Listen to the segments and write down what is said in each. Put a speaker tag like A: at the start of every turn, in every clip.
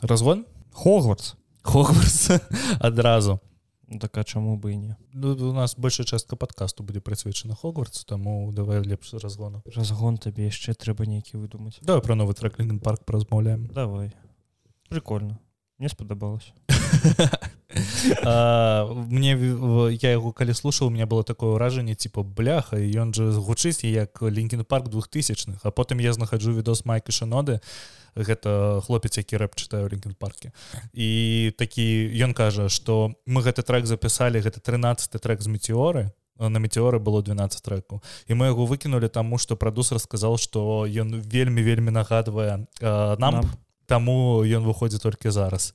A: разгон Хогвартс Хогвартс адразу
B: Ну, так а чаму бы і не
A: ну у нас большая частка подкасту будзе прысвечана Хогвартсу таму давай лепш з разгону
B: разгон табе яшчэ трэба нейкі выдумаць
A: давай про новы трек Лінген парк празмаўляем
B: давай прикольно мне спадабалось
A: А, мне в- я яго калі слушаў у меня было такое ўражанне типа бляха і ён же гучыць як лінкін парк двухтысячных а потым я знаходжу відос майкі шаноды гэта хлопец які рэп чытаю лінкін парке і такі ён кажа что мы гэты трек запісалі гэта 13 трек з метеоры а на метеоры было 12 треку і мы яго выкінулі таму что прадусер сказал что ён вельмі вельмі нагадвае э, нам
B: Намп.
A: таму ён выходзіць толькі зараз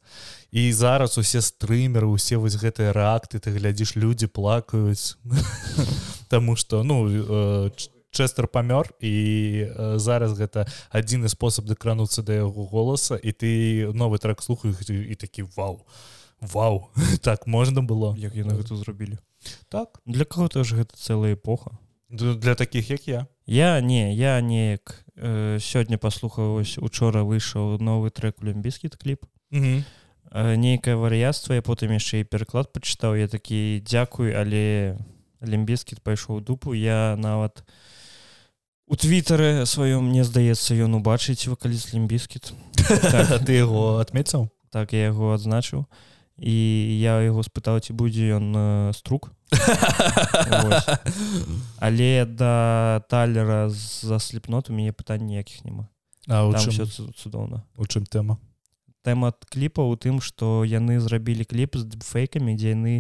A: і зараз усе стрымеры усе вось гэтыя рэакты ты глядзіш людзі плакаюць Таму что ну э, Ч- честер памёр і э, зараз гэта адзіны спосаб дакрануцца да яго голаса і ты новы трек слухаеш і такі вау Вау так можна было
B: як яны гэта зрабілі
A: так
B: для кого то ж гэта цэлая эпоха
A: Д- для таких як я
B: я не я неяк э, сёння паслухаў вось учора выйшаў новы трек люмбіскіт кліп
A: Мгм.
B: Э, нейкае вар'яцтва я потым яшчэ і пераклад пачытаў я такі дзякуй але лімбіскіт пайшоў у дупу я нават у твиттары сваём мне здаецца ён убачыць вакаліст лімбіскіт
A: Так, А ты яго адмецаў
B: так я яго адзначыў і я яго спытаў ці будзе ён э, струк Вось. але да талера за слепнот у мяне пытань ніякіх няма
A: А у
B: там все
A: чым,
B: цудоўна
A: у чым тэма
B: тэма ад кліпа ў тым што яны зрабілі кліп з фейкамі дзе яны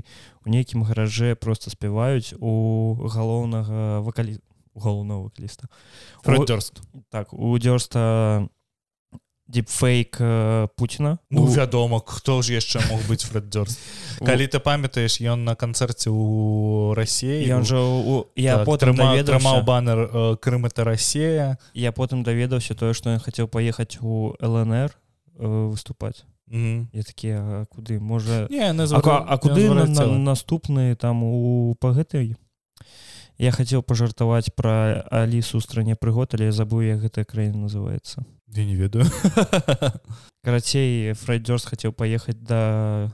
B: у нейкім гаражэ просто спяваюць у галоўнага вакалі галоўного вакаліста У-
A: Фроддерст
B: так у дзёрста дипфейк Пуціна
A: Ну
B: У-
A: вядома хто ж яшчэ мог быць Фреддерст калі ты памятаеш ён на канцэрце ў рассеі
B: ён жа у я
A: Так,
B: потым
A: трыма- трымаў
B: даведаўся
A: банер э, Крым это Росія
B: я потым даведаўся тое што ён хацеў паехаць у лнр э, выступаць
A: Мгм.
B: я такі «А куды можа
A: не яны
B: А, ка-
A: звару-
B: а куды
A: яны
B: на, на,
A: зварацела.
B: наступны там у па гэтай я хацеў пажартаваць пра алісу ў стране прыгод але я забыў як гэтая краіна называецца
A: я не ведаю
B: карацей фрайдёрс хацеў паехаць да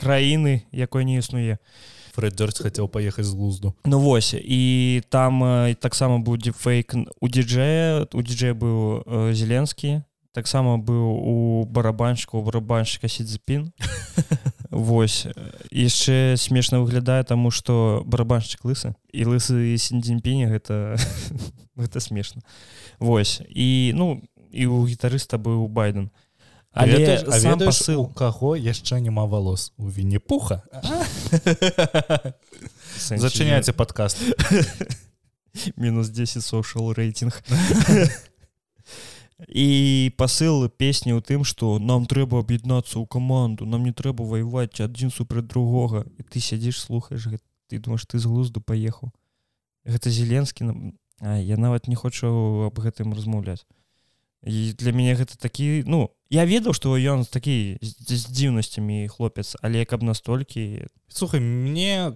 B: краіны якой не існуе
A: Фреддерс хацеў паехаць з глузду
B: ну вось і там э, таксама будзе фейк н- у діджея у діджея быў э, зеленскі таксама быў у барабаншку у барабаншчыка сідзепін Вось э, яшчэ смешна выглядае таму што барабаншчык лысы і лысы сіндзімпіне гэта гэта смешна Вось і ну і у гітарыста быў байден але
A: Ведаеш- а
B: сам
A: ведаеш,
B: пасыл
A: у каго яшчэ няма валос у віне пуха
B: Сэнсі,
A: зачыняйце падкаст
B: минус 10 social рейтинг і пасыл песні ў тым что нам трэба аб'яднацца ў каманду нам не трэба ваяваць адзін супраць другога і ты сядзіш слухаеш гэта ты думаешь ты з глузду паехаў гэта зеленскі нам а, я нават не хочу аб гэтым размаўляць і для мяне гэта такі ну я ведаў што ён такі з, з дзіўнасцямі хлопец але каб настолькі
A: слухай мне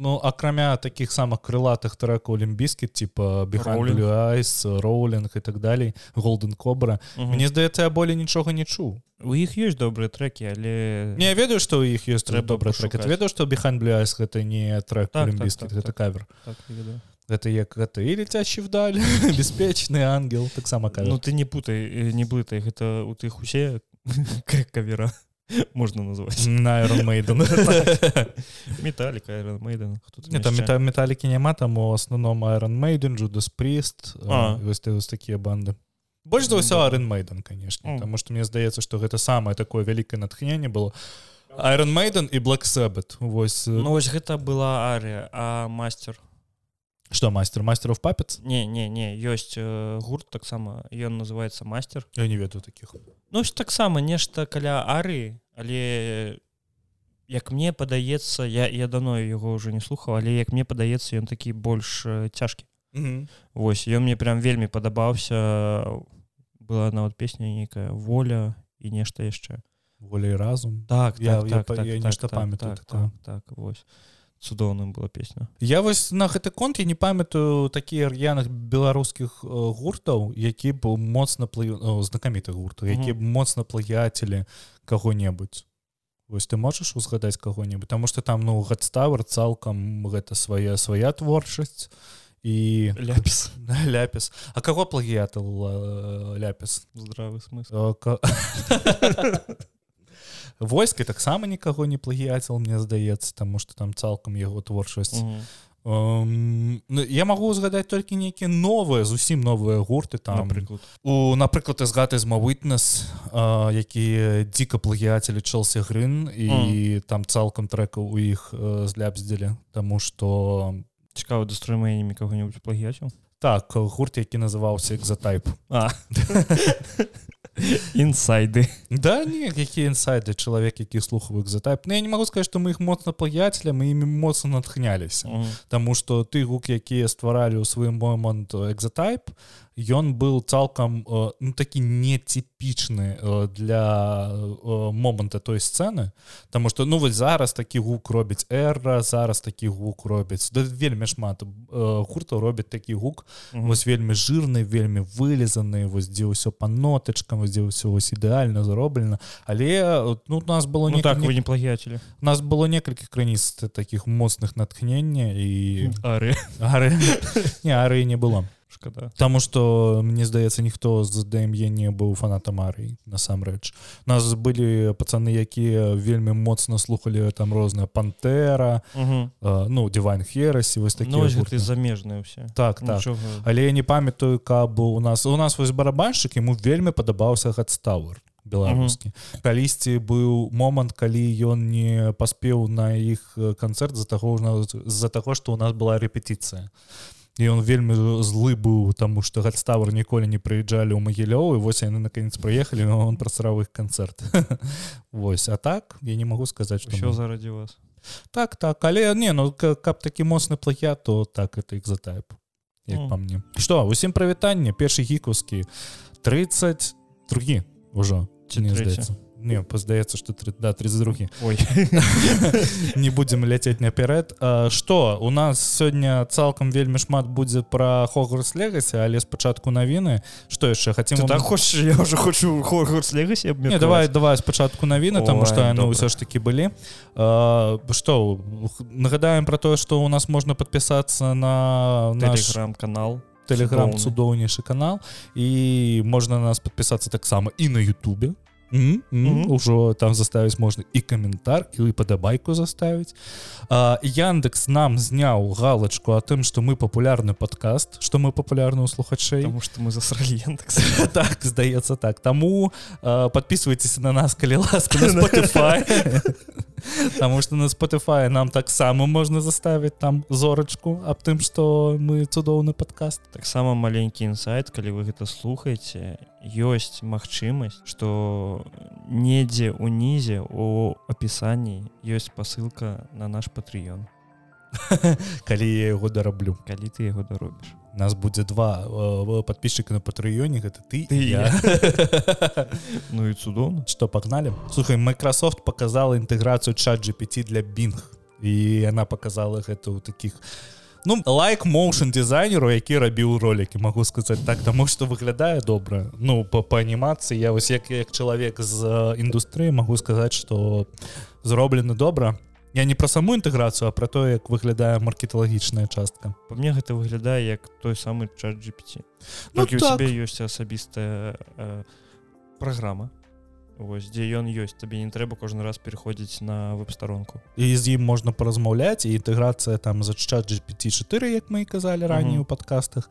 A: ну акрамя таких самых крылатых трекаў лімбіскіт типа
B: Rowling.
A: бігайс роулинг і так далей голден кобра Мне здаецца я болей нічога не чуў
B: у іх ёсць добрыя трекі але
A: Не я ведаю што ў іх ёсць
B: Трэба
A: добры трек
B: пашукаць.
A: Я ведаю што биханблюс гэта не трек
B: Так, так,
A: лімбіскіт
B: так,
A: гэта
B: так.
A: кавер
B: так, я ведаю.
A: гэта як гэта і ліцячы вдаль беспечны ангел таксама
B: Ну
A: кавер
B: ты не путай э, не блытай гэта у тых усе ка- кавера можна назваць
A: на Iron Maiden
B: Так, металіка Iron Maiden хто там
A: Не, там
B: яшчэ?
A: мета- металікі няма там у асноўном Iron Maiden Judas Priest
B: А. Ну,
A: э, вось ты- вось такія банды больш за ўсё Iron Maiden
B: М.
A: канешне Таму што мне здаецца што гэта самае такое вялікае натхненне было Iron Maiden і Black Sabbath вось
B: ну вось гэта была арыя а мастер
A: што майстер майстеров папец
B: не не не ёсць э, гурт таксама ён называется мастер
A: Я не ведаю таких
B: Ну ж таксама нешта каля арыі але як мне падаецца я я дано яго ўжо не слухаў але як мне падаецца ён такі больш э, цяжкі Вось ён мне прям вельмі падабаўся была нават песня нейкая воля і нешта яшчэ
A: волей разум
B: так
A: Я-
B: так,
A: я
B: так,
A: па-
B: так,
A: я
B: так,
A: нешта
B: так,
A: памятаю
B: так,
A: такое.
B: так, так вось цудоўным была песня
A: Я вось на гэты конт я не памятаю такія р'яных беларускіх э, гуртаў які б моцна плы знакамітых гуртаў
B: Мгм.
A: які б моцна плаятелі каго-небудзь Вось ты можаш узгадаць каго-небудзь Таму што там ну гадставер цалкам гэта свая свая творчасць і
B: ляпіс
A: ляпіс А каго плагіятал э, ляпіс
B: здравы
A: Э,
B: смысл
A: ка- войскі таксама нікаго не плагіяцел мне здаецца таму што там цалкам яго творчасць
B: Мгм.
A: Эм, ну, я магу згадаць толькі нейкія новыя зусім новыя гурты там
B: напрыклад
A: у напрыклад з гаты з мавытнес якія дзіка плагіяцелі Челсі грын і mm. там цалкам трэкаў у іх э, злябздзелі Таму што
B: цікава дастроймаямі каго-небудзь плагіяцю
A: так гурт які называўся экзатайп
B: інсайды
A: Да не які інсайды чалавек які слухаў экзатайп Ну, я не магу сказаць што мы іх моцна плагіяцеля мы імі моцна натхняліся
B: Мгм.
A: Таму што ты гук якія стваралі ў свой момант э, экзатайп ён быў цалкам э, ну, такі нетипічны э, для э, моманта той сцэны Таму што ну вось зараз такі гук робіць эра зараз такі гук робіць да, вельмі шмат э, гуртаў робяць такі гук
B: Мгм.
A: вось вельмі жирны вельмі вылезаны вось дзе ўсё па нотачкам вось дзе ўсё вось ідэальна зроблена але э, ну у нас было
B: ну
A: не
B: так вы не плагіяцелі
A: у нас было некалькі крыніц т- таких моцных натхнення і
B: ары
A: Ары не ары не было
B: шкада
A: Таму што мне здаецца ніхто з ДМЕ E не быў фанатам арый насамрэч У нас былі пацаны якія вельмі моцна слухалі там розная пантэра
B: Мгм.
A: э, ну дивайн херасі вось такі
B: ну вось гэты замежныя ўсе
A: так так
B: Нічога.
A: але я не памятаю каб у нас у нас вось барабаншчык яму вельмі падабаўся гадставер беларускі калісьці быў момант калі ён не паспеў на іх э, канцэрт з-за таго з-за таго што ў нас была рэпетіцыя і он вельмі злы быў таму што гадставер ніколі не прыязджалі ў магілёў і вось яны наконец прыехалі но он прасраў іх канцэрт Вось а так я не магу сказаць што мы-
B: ўсё зарадзі вас
A: так так але не ну к- каб такі моцны плагіат то так это экзатайп як
B: Мгм.
A: па мне што усім прывітанне першы гікаўскі 30 другі ўжо
B: Ці
A: Мне
B: трэці?
A: здаецца. не паздаецца што тры- да 32
B: ой
A: не будзем ляцець наперад А, што у нас сёння цалкам вельмі шмат будзе пра хогрус легасе але спачатку навіны што яшчэ хацем
B: Ты
A: вам-
B: так хочаш я ўжо хочу Хогвартс Легасе
A: Не, давай давай спачатку навіны
B: Ой,
A: таму што яны
B: добра.
A: ўсё ж такі былі А, што х- нагадаем пра тое што ў нас можна падпісацца на наш
B: телеграм-канал
A: тэлеграм
B: цудоўны.
A: цудоўнейшы канал і можна на нас падпісацца таксама і на Ютубе Мгм,
B: Мгм.
A: мгм. ужо там заставіць можна і каментар і падабайку заставіць А, Яндекс нам зняў галочку о тым што мы папулярны падкаст што мы папулярны ў слухачэй
B: Таму што мы засралі Яндекс
A: так здаецца так таму э, подписывайтесь на нас калі ласка на Spotify Таму что на Spotify нам так таксама можна заставіць там зорачку аб тым што мы цудоўны падкаст
B: таксама маленькі інсайт калі вы гэта слухаеце ёсць магчымасць што недзе унізе у апісанні ёсць спасылка на наш патрыён
A: калі я яго дараблю
B: калі ты яго даробіш
A: нас будзе два э, подписчика на патрыёне гэта ты,
B: Ты і
A: і я
B: Ну і цудоўна
A: что погнали слухай Microsoft показала інтэграцыю чат GPT для Bing і она показала гэта ў таких ну лайк моушн дизайнеру які рабіў ролики могу сказаць так таму что выглядае добра ну по па анімацыі я вось як як чалавек з э, індустрыі могу сказаць что зроблена добра я не пра саму інтэграцыю а про то як выглядае маркеталагічная частка
B: Па мне гэта выглядае як той самы чат GPT
A: Ну
B: Толькі у
A: так.
B: цябе ёсць асабістая э, праграма Вось дзе ён ёсць табе не трэба кожны раз пераходзіць на веб-старонку
A: і з ім можна паразмаўляць і інтэграцыя там за чат GPT 4 як мы і казалі раней
B: Мгм.
A: у падкастах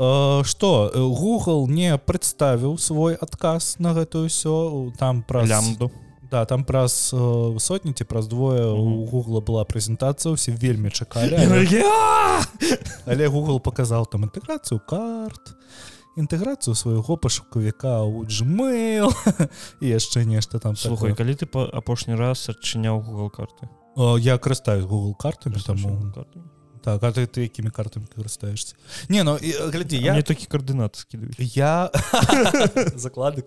A: Э, што э, Google не прадставіў свой адказ на гэтую ўсё там праз
B: лямду
A: да там праз э, сотні ці праз двое
B: Мгм.
A: у Гугла была прэзентацыя усе вельмі чакалі але-
B: Энергия!
A: але Google паказаў там інтэграцыю карт інтэграцыю свайго пашукавіка ў Gmail і яшчэ нешта там
B: слухай
A: такое.
B: калі ты па- апошні раз адчыняў google карты
A: Э, я карыстаюсь Google картамі таму
B: карты
A: Так, а ти, ти якими картами користуєшся? Ні, ну і, е, гляді, я.
B: Мне только координаты скидывают.
A: Я закладик.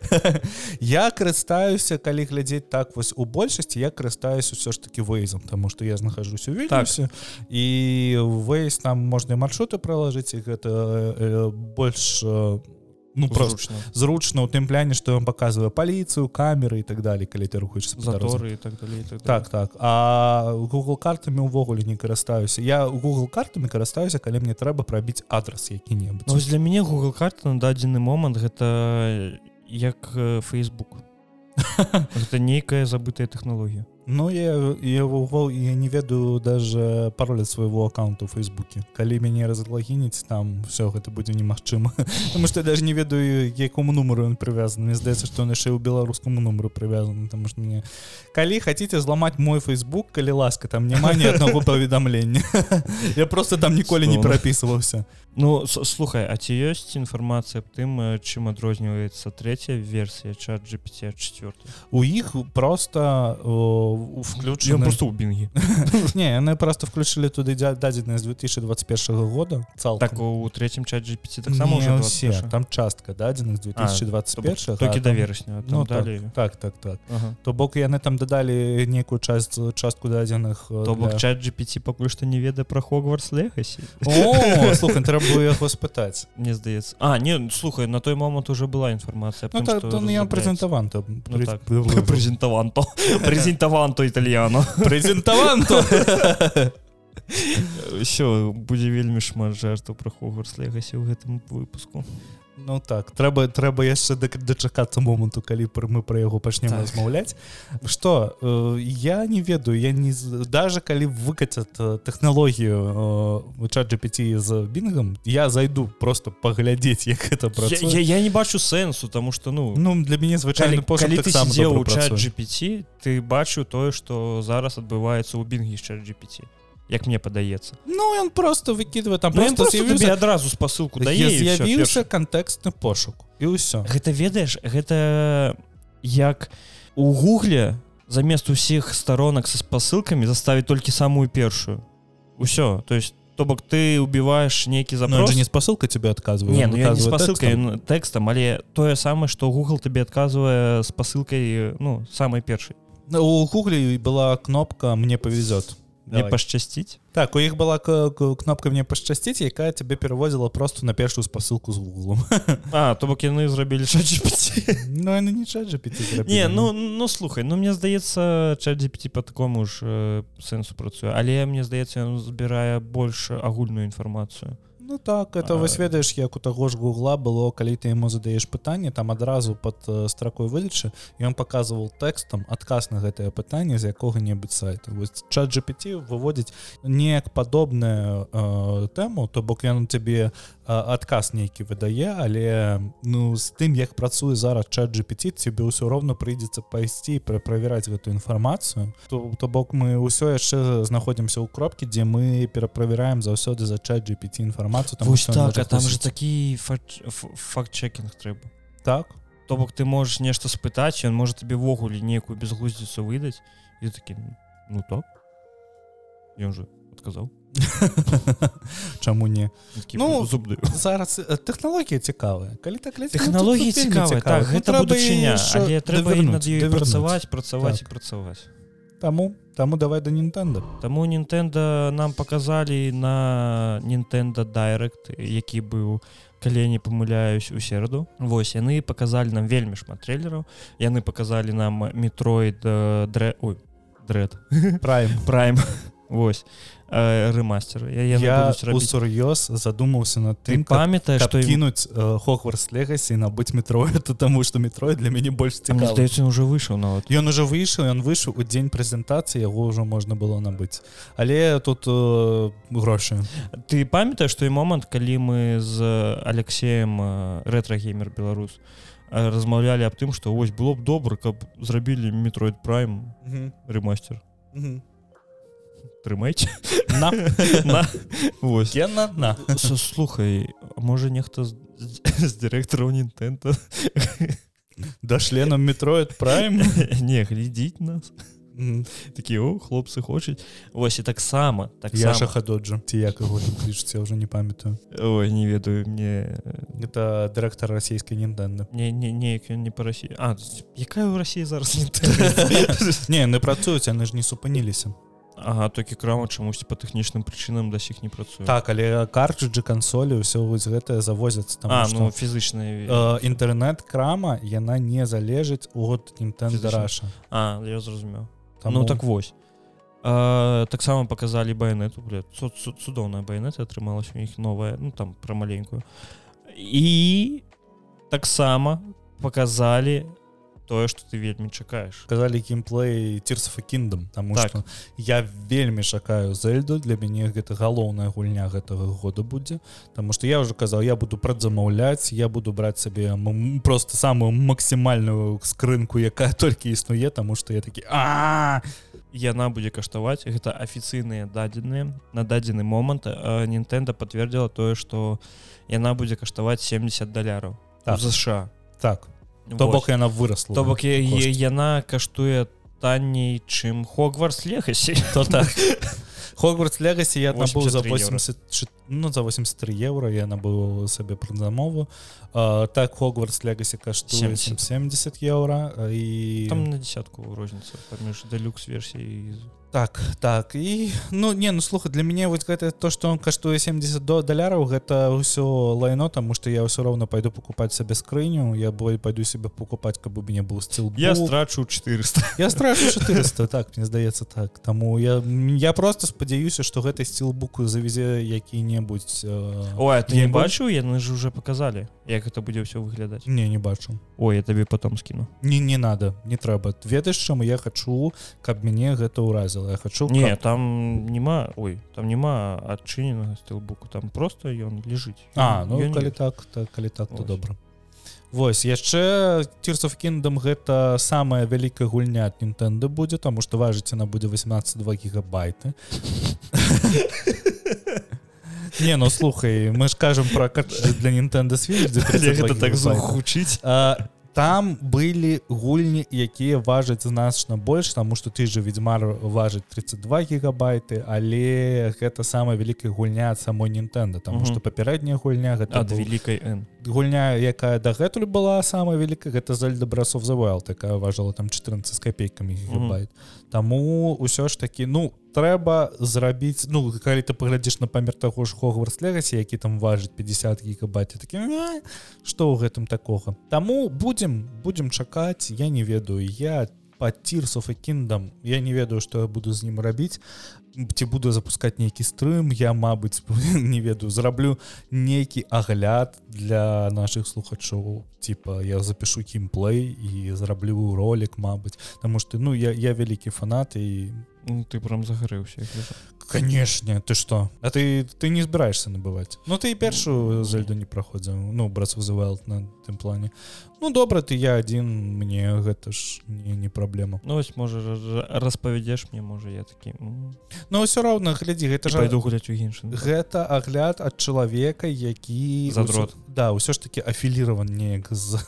A: я користаюся, калі глядзець так вось у большасці я карыстаюсь усё ж таки вейзам тому что я нахожусь у
B: Так.
A: вільнюсе і вейс там можна і маршруты пролажыць і гэта э, больш э, ну просто
B: Зручно.
A: зручна у тым пляне што ён паказвае паліцыю камеры і так далее калі ты рухаешься по дарозе.
B: Заторы и так далее. и так далее.
A: так так а google картамі увогуле не карыстаюся я google картамі карыстаюся калі мне трэба прабіць адрас які-небудзь
B: Ну, вось для мяне Google карта на дадзены момант гэта як э, Facebook гэта нейкая забытая тэхналогія
A: Ну я, я, увогул- я не ведаю даже пароль ад свайго аккаунта ў фейсбуке калі мяне разлагініць там все гэта будзе немагчыма Таму што я даже не ведаю якому нумару ён прывязаны Мне здаецца што он яшчэ і ў беларускаму нумару прывязаны там што мне калі хаце зламаць мой фейсбук калі ласка там няма ні аднаго паведамлення я просто там ніколі не
B: Слаўна.
A: перапісваўся
B: Ну с- слухай А ці ёсць інфармацыя аб тым э, чым адрозніваецца трэця версія чат GPT 4
A: у іх просто о,
B: Ён
A: включаны
B: просто ў бінгі
A: не яны просто включылі туды дзя- дадзеныя з 2021 года цалкам
B: так у трэцім чат GPT
A: Не
B: таксама ўжо
A: ўсе.
B: 21.
A: там частка дадзеных з 2021
B: толькі
A: а
B: да
A: там-
B: верасня а там
A: ну,
B: далей
A: так так так
B: Ага.
A: то бок яны там дадалі нейкую часть частку дадзеных э,
B: То бок
A: для-
B: чат GPT пакуль што не ведае пра Хогварс легасі
A: О, слухай трэба было яго спытаць
B: Мне здаецца А не ну, слухай на той момант уже была інфармацыя аб
A: Ну
B: тым,
A: так
B: што
A: ён ён
B: разробляецца.
A: прэзентаван
B: Ну, так. Презентаванто. Презентаванто італьяно.
A: прэзентаван то
B: Все, будзе вельмі шмат жартаў пра Хогвартс Легасі ў гэтым выпуску.
A: Ну так трэба трэба яшчэ дак- дачакацца моманту калі пр- мы пра яго пачнем
B: Так.
A: размаўляць Што э, я не ведаю я не з- даже калі выкацят э, тэхналогію э, чат GPT з бінгам я зайду просто паглядзець як это працуе
B: Я, я, я не бачу сэнсу, таму што ну, так
A: Ну для мяне звычайны
B: калі,
A: пошук так
B: калі ты
A: таксама
B: сидзеў
A: добра
B: у чат
A: працуе.
B: GPT, ты бачыў тое, што зараз адбываецца ў бінгі з чат GPT. Як мне падаецца.
A: Ну ён просто выкідвае там
B: Ну,
A: просто
B: ён просто Так табе
A: з'явіўся
B: адразу спасылку дае і Ну, ўсё,
A: з'явіўся кантэкстны пошук і ўсё
B: Гэта ведаеш гэта як у гугле замест усіх сторонак са спасылкамі заставіць толькі самую першую усё то есть то бок ты убіваешь нейкі
A: Ну, ён
B: запрос
A: жа не спасылка тебе адказвае
B: не,
A: ён
B: ну, я не
A: адказвае
B: спасылкай
A: тэкстам.
B: тэкстам. тэкстам але тое самае што google табе адказвае з пасылкай ну самай першай
A: Ну, у гугле была кнопка мне повезет
B: не пашчасціць
A: Так, у іх была к- к- кнопка мне пашчасціць, якая тебе пераводзіла просто на першую спасылку з гуглом.
B: А то бок яны зрабілі ChatGPT.
A: Ну яны не чат GPT
B: не ну ну слухай ну мне здаецца ChatGPT по такому ж э, сэнсу працуе але мне здаецца ён збірае больш агульную інфармацыю
A: ну так это вось
B: А.
A: ведаеш як у таго ж гугла было калі ты яму задаеш пытанне там адразу под э, стракой выдачы ён паказваў тэкстам адказ на гэтае пытанне з якога-небудзь сайта вось чат GPT выводзіць неяк падобная э, тэму то бок ён цябе э, адказ нейкі выдае але ну з тым як працуе зараз чат GPT тебе ўсё роўна прыйдзецца пайсці і праправераць гэтую інфармацыю то, то бок мы ўсё яшчэ знаходзімся ў кропкі дзе мы пераправяраем заўсёды за чат GPT інфармацыю таму
B: Вось
A: што ён можа
B: так а там
A: хлусіць.
B: же такі фач- ф- факт-чекінг трэба
A: так
B: то бок ты можаш нешта спытаць ён можа табе ввогуле нейкую безглуздзіцу выдаць і ты такі ну так ён же адказаў
A: чаму не Ну,
B: зубды
A: зараз э, тэхналогія цікавая калі так глядзець, ну, тут
B: технологлогі
A: вельмі
B: цікавыя так
A: Ну,
B: гэта
A: трэба
B: будучыня
A: яшчэ
B: але трэба і над
A: давярнуць,
B: ёю
A: давярнуць.
B: працаваць
A: Так.
B: працаваць і працаваць
A: таму таму давай да Нтэнда
B: Таму Nintendo нам показалі на Nintendo Direct, які быў калі я не памыляюсь у сераду Вось яны показалі нам вельмі шмат трейлераў яны показалі нам метроид дрэ ой дред
A: прайм
B: прайм Вось э, рэмастер я,
A: я
B: ты
A: усур'ёз задумаўся над тым каб
B: памятаеш
A: Каб што...
B: што ім-
A: кінуць э, Хогварс Легасе і набыць метроіда таму што метроід для мяне больш
B: А мне
A: цікава
B: здаецца уже выйшаў нават
A: Ён ужо выйшаў ён выйшаў у дзень прэзентацыі яго ўжо можна было набыць але тут э, грошы
B: ты памятаеш той момант калі мы з алексеем рэтрагеймер беларус э, размаўлялі аб тым што вось было б добра каб зрабілі метроид прайм рэмастер трымайце
A: на
B: На. вось
A: я на на
B: С- слухай можа нехта з, з- з дырэктараў Нтэнта
A: да членам метроід прайм
B: не глядзіць нас такія о хлопцы хочуць восьось і так таксама
A: Яша
B: таксама
A: хадоджа ці як яго там клічыць я ўжо не памятаю
B: ой не ведаю мне э,
A: это дырэктар расійскай ніндэнда
B: не не неяк ён не па Росіі А з- якая ў Росіі зараз не
A: не яны працуюць яны ж не супыніліся
B: Ага толькі крама чамусь па тэхнічным прычынам да сіх не працуе
A: так але картриджы кансолі ўсё вось гэтае завозяцца там
B: А ну фізычныя
A: інтэрнэт крама яна не залежыць от Nintendo
B: Фізычна.
A: раша
B: А я зразумеў Ну так вось А, таксама показалі байонету бля, цуд, цуд, цудоўная байонета атрымалась у іх новая ну там пра маленькую і так таксама показалі тое что ты вельмі чакаеш
A: казалі геймплей тирсфа кіндом таму
B: Так.
A: что я вельмі чакаю зельду для мяне гэта галоўная гульня гэтага года будзе Таму что я уже казаў я буду прадзамаўляць я буду браць сабе м- м- просто самую максімальную скрынку якая толькі існуе таму что я такі а
B: яна будзе каштаваць гэта афіцыйныя дадзеныя на дадзены момант Нтэнда подтвердзіла тое что яна будзе каштаваць 70 даляраў
A: Так.
B: так. ЗША
A: так то
B: Вось.
A: бок яна выросла
B: то бок я- я-
A: кошт.
B: яна каштуе танней чым Хогварс лехасі
A: то так Хогвартс легасі я там быў за
B: 83 евро.
A: 80 ну за 83 еўра я набыў сабе прадзамову А, так Хогвартс легасі каштуе
B: 70.
A: 70 еўра а, і
B: там на десятку розніца паміж дэлюкс версій
A: так так і ну не ну слухай для мяне вот гэта то что он каштуе 70 до даляраў гэта ўсё лайно таму что я ўсё роўна пайду покупать сабе скрыню я болей пайду себе покупать каб у мяне быў сцыл
B: страчу 400
A: я страшу 400 так мне здаецца так таму я я просто спадзяюся что гэтай сцілбуку завезе які-небудзь э...
B: Ой а ты не
A: Геймбой?
B: бачыў яны ж уже показалі як гэта будзе ўсё выглядаць
A: не не бачу
B: Ой я табе потом скіну
A: не не надо не трэба ведаеш чаму я хачу каб мяне гэта ўразіла я хачу каб-
B: не там нема Ой там нема адчыненага стылбуку там просто ён лежыць
A: А ну
B: Ён
A: калі
B: ёсць.
A: так то калі так то
B: Вось.
A: добра Вось яшчэ тирсов кіндом гэта самая вялікая гульня от Нтэнда будзе таму што важыць яна будзе 182 гігабайты Не ну слухай мы ж кажам про картриджы для Nintendo Switch дзе 32
B: так
A: гігабайта.
B: гучыць
A: А, Э, там былі гульні якія важаць значна больш таму што ты же ведьмар важыць 32 гігабайты але гэта самая вялікая гульня ад самой Нтэнда таму
B: Мгм.
A: што папярэдняя гульня гэта
B: ад
A: быў-
B: вялікай Н
A: гульня якая дагэтуль была самая вялікая гэта зальда брасов завал такая важала там 14 з копейкамі гігабайт Таму ўсё ж такі ну трэба зрабіць ну калі ты паглядзіш на памер таго ж хогварс легасе які там важыць 50 гігабайт такі «А, што ў гэтым такога Таму будзем будзем чакаць я не ведаю я по тирсов и кіндам я не ведаю што я буду з ім рабіць ці буду запускаць нейкі стрым я мабыць не ведаю зраблю нейкі агляд для наших слухачоў типа я запишу геймплей і зраблю ролик Мабыць Таму что ну я я вялікі фанат і
B: Ну, ты прям загарэўся як лежаў.
A: канешне ты что А ты ты не збіраешься набываць Ну ты і першую зельду не праходзіў ну брат вызывал на тым плане Ну добра ты я один мне гэта ж не, не праблема
B: Ну вось можа раз- распавядзеш мне можа я такі м,
A: Ну ўсё роўна глядзі гэта
B: і
A: ж
B: пайду гуляць у іншым
A: гэта агляд ад чалавека які
B: Задрот.
A: ўсё- да ўсё ж таки афіліраван неяк з,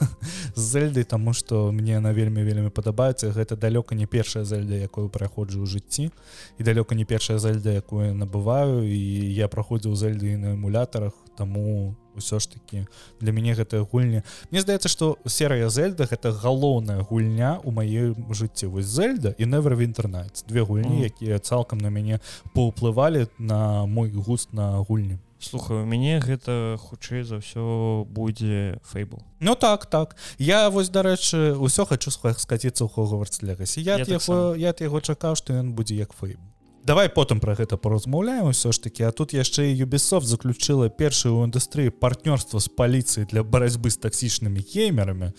A: з зельдай тому что мне на вельмі вельмі падабаецца гэта далёка не першая зельда якую праходжу ў жыцці і далёка не першая зельда якую я набываю і я праходзіў зельды і на эмулятарах таму ўсё ж таки для мяне гэтая гульня Мне здаецца что серыя зельда гэта галоўная гульня у маёй жыцці вось зельда і never інтэрнат две гульні
B: Мгм.
A: якія цалкам на мяне паўплывалі на мой густ на гульні
B: слухай у мяне гэта хутчэй за ўсё будзе фэйбл
A: Ну так так я вось дарэчы ўсё хочу схва- скаціцца ў хогаварс легасе я, я,
B: Я
A: яго,
B: таксама.
A: я ад яго чакаў што ён будзе як фэйб давай потым пра гэта паразмаўляем усё ж такі а тут яшчэ і юбісофт заключыла першую ў індустрыі партнёрства з паліцыяй для барацьбы з таксічнымі геймерамі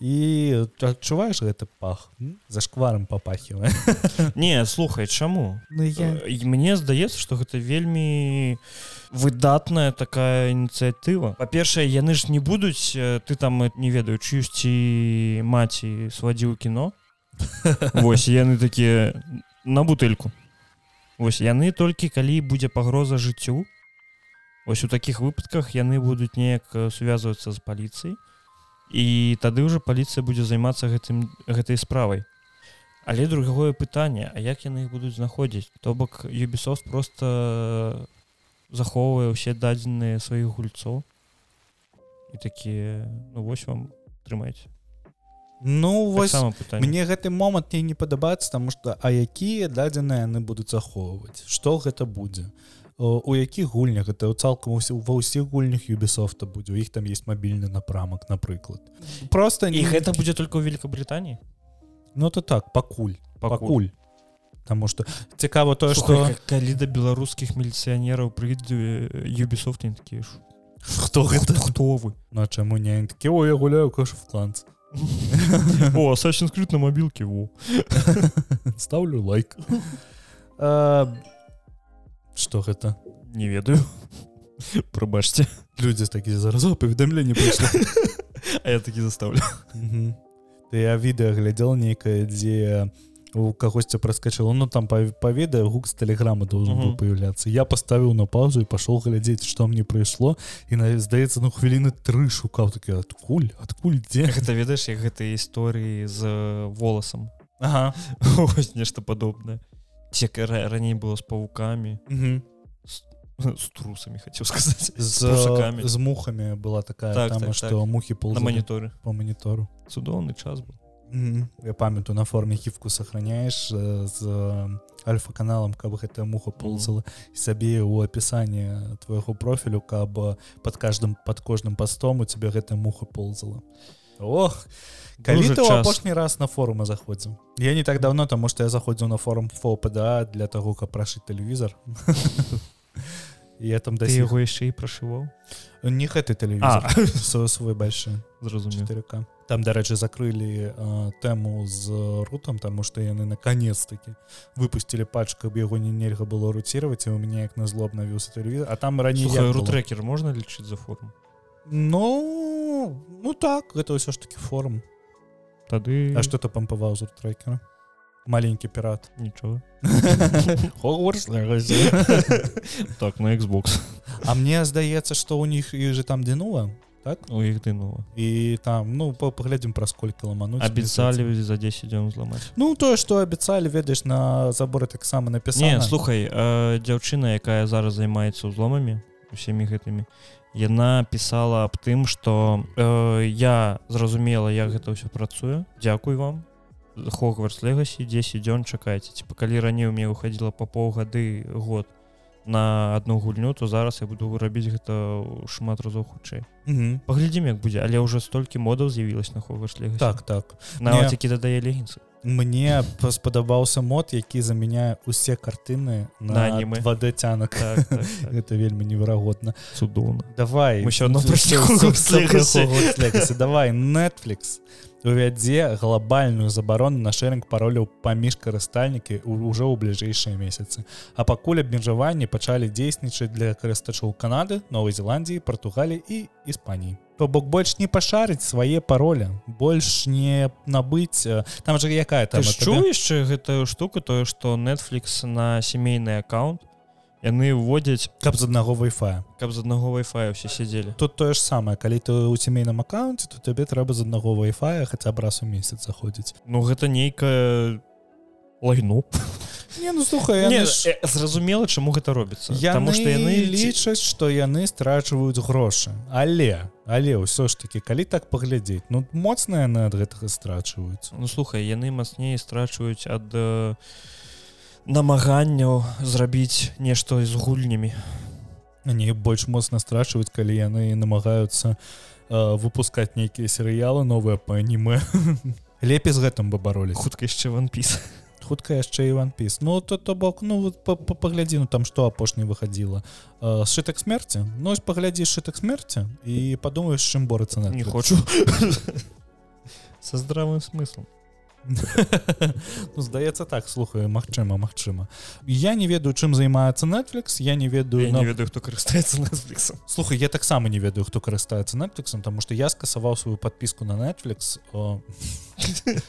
A: і адчуваеш гэты пах М? за шкварам папахівае
B: не слухай чаму
A: Ну я
B: Э, і мне здаецца што гэта вельмі выдатная такая ініцыятыва па-першае яны ж не будуць э, ты там э, не ведаю чыюсьці маці свадзіў у кіно Вось і яны такія на бутэльку Вось яны толькі калі будзе пагроза жыццю Вось у такіх выпадках яны будуць неяк э, связвацца з паліцыяй і тады ўжо паліцыя будзе займацца гэтым гэтай справай А але другое пытанне А як яны іх будуць знаходзіць то бок юбісофт просто захоўвае ўсе дадзеныя сваіх гульцоў і такія ну вось вам трымайце
A: Ну вось
B: таксама пытанне
A: мне гэты момант мне не падабаецца таму што а якія дадзеныя яны будуць захоўваць што гэта будзе О, Э, у якіх гульнях гэта цалкам усе- ва ўсіх гульнях юбісофта будзе у іх там есть мабільны напрамак напрыклад просто
B: і гэта будзе только ў Великабританіі
A: ну то так пакуль пакуль Таму што цікава тое
B: Слухай,
A: што
B: ка- калі да беларускіх міліцыянераў прыйдзе юбісофт такі ж
A: хто
B: хто, хто вы
A: Ну а чаму не Яны такі о я гуляю каш в кланц
B: о Assassin's Creed на мабілке во
A: стаўлю лайк А, Што гэта
B: не ведаю прабачце
A: людзі такі зараз «О, паведамленне прыйшло
B: а я такі заставлю
A: Мгм. Ты я відэа глядзел нейкае дзе э, у кагосьці проскочило ну там па- па відэа гук с тэлеграма должен
B: Мгм.
A: был появляться я поставил на паузу и пошел глядзець что мне прыйшло і на здаецца ну хвіліны тры шукаў такі адкуль адкуль дзе
B: гэта ведаеш як гэтай гісторыі з э, воласам
A: ага.
B: Вось нешта падобнае Ці як ра- раней было з павукамі з трусамі хацеў сказаць
A: з,
B: прусакамі.
A: з мухами была такая
B: Так,
A: так, там
B: так,
A: что так. мухи пол
B: на маніторы
A: по монітору
B: цудоўны час быў
A: Мгм. Я памятаю на форме хівку сохраняешь э, з э, альфа-каналам каб гэтая муха ползала і сабе у апісанні твайго профілю каб э, под каждым под кожным пастом у тебе гэтая муха ползала Ох калі
B: Дужа
A: ты ў
B: час.
A: апошні раз на форумы заходзіў Я не так давно таму што я заходзіў на форум фопда для таго каб прашыць тэлевізор І я там да
B: ты
A: сих-
B: яго яшчэ і прашываў
A: не гэты тэлевізор
B: а
A: свой свой большой
B: зразумеў
A: 4К. Там, дарэчы, закрылі э, тэму з рутам, таму што яны наконец-таки выпусцілі патч, каб яго не нельга было руціраваць, і у мяне як на зло обнавіўся тэлевізор, а там раней як было?
B: рутрекер можна лічыць за форму
A: Ну ну так, гэта ўсё ж такі форум.
B: тады
A: А што ты пампаваў з рутрекера? Маленькі пірат.
B: нічого
A: Хогвартс.
B: так на Xbox
A: А мне здаецца, што ў них і же там дзінула, так?
B: у іх дынула
A: І там ну па- паглядзім праз колькі
B: Ну,
A: ламануць.
B: абіцалі за 10 дзён зламаць
A: Ну тое, што абяцалі, ведаеш, на так заборы таксама напісана.
B: Не слухай э, дзяўчына якая зараз займаецца ўзломамі усімі гэтымі яна пісала аб тым што э, я зразумела як гэта ўсё працуе Дякуй вам Хогварс легасі 10 дзён чакайце типа калі раней у мне выходзіла па паўгады год на одну гульню то зараз я буду рабіць гэта ў шмат разоў хутчэй
A: Мгм.
B: паглядзім як будзе але ўжо столькі модаў з'явілась на Хогварс легасі
A: Так, так. не.
B: нават які дадае легінсы
A: Мне спадабаўся мод, які замяняе усе картыны
B: На
A: на
B: аніме.
A: 2D цянак.
B: так, так, так.
A: Гэта вельмі неверагодна.
B: цудоўна
A: Давай.
B: Мы ще одно пройшли
A: Всё,
B: Hogwarts
A: всё, всё про
B: Legacy.
A: Hogwarts Legacy. Давай Netflix увядзе глобальную забарону на шэрынг пароляў паміж карыстальнікі ў- ўжо ў бліжэйшыя месяцы. А пакуль абмежаванні пачалі дзейснічаць для карыстачоў Канады, Новай Зеландіі, Португаліі і Іспаніі. То бок больш не пашарыць свае пароля, больш не набыць э, там жа якая там
B: Ты ж чуў яшчэ гэтую штуку тое што Netflix на сямейны аккаунт яны вводзяць
A: каб з аднаго вайфая
B: каб з аднаго Wi-fi ўсе сядзелі
A: тут тое ж самае калі ты ў сямейным аккаунце то табе трэба з аднаго вайфая хаця б раз у месяц заходзіць
B: Ну гэта нейкая лайну
A: Не ну слухай яны
B: Не,
A: ж-
B: э, зразумела чаму гэта робіцца
A: яны
B: Таму што яны ці-
A: лічаць што яны страчваюць грошы але але ўсё ж таки калі так паглядзець ну моцна яны ад гэтага страчваюць
B: Ну слухай яны мацней страчваюць ад э, намаганняў зрабіць нешта з гульнямі
A: они больш моцна страчваюць калі яны намагаюцца э, выпускаць нейкія серыялы новыя па аніме лепей з гэтым бы баролі
B: хутка яшчэ ванпіс
A: хутка яшчэ і ванпіс ну то то бок ну вот па- па- паглядзі ну там што апошняе выхадзіла Э, сшытак смерці ну вось паглядзі сшытак смерці і падумаеш з чым борацца на
B: не хочу са здравым смыслом
A: ну здаецца так слухаю Мачыма Мачыма я не ведаю чым займаецца Netflix я не ведаю
B: Я
A: на-
B: не ведаю хто карыстаецца Netflix
A: слухай я таксама не ведаю хто карыстаецца Netflixом тому что я скасаваў сваю подпіску на Netflix о,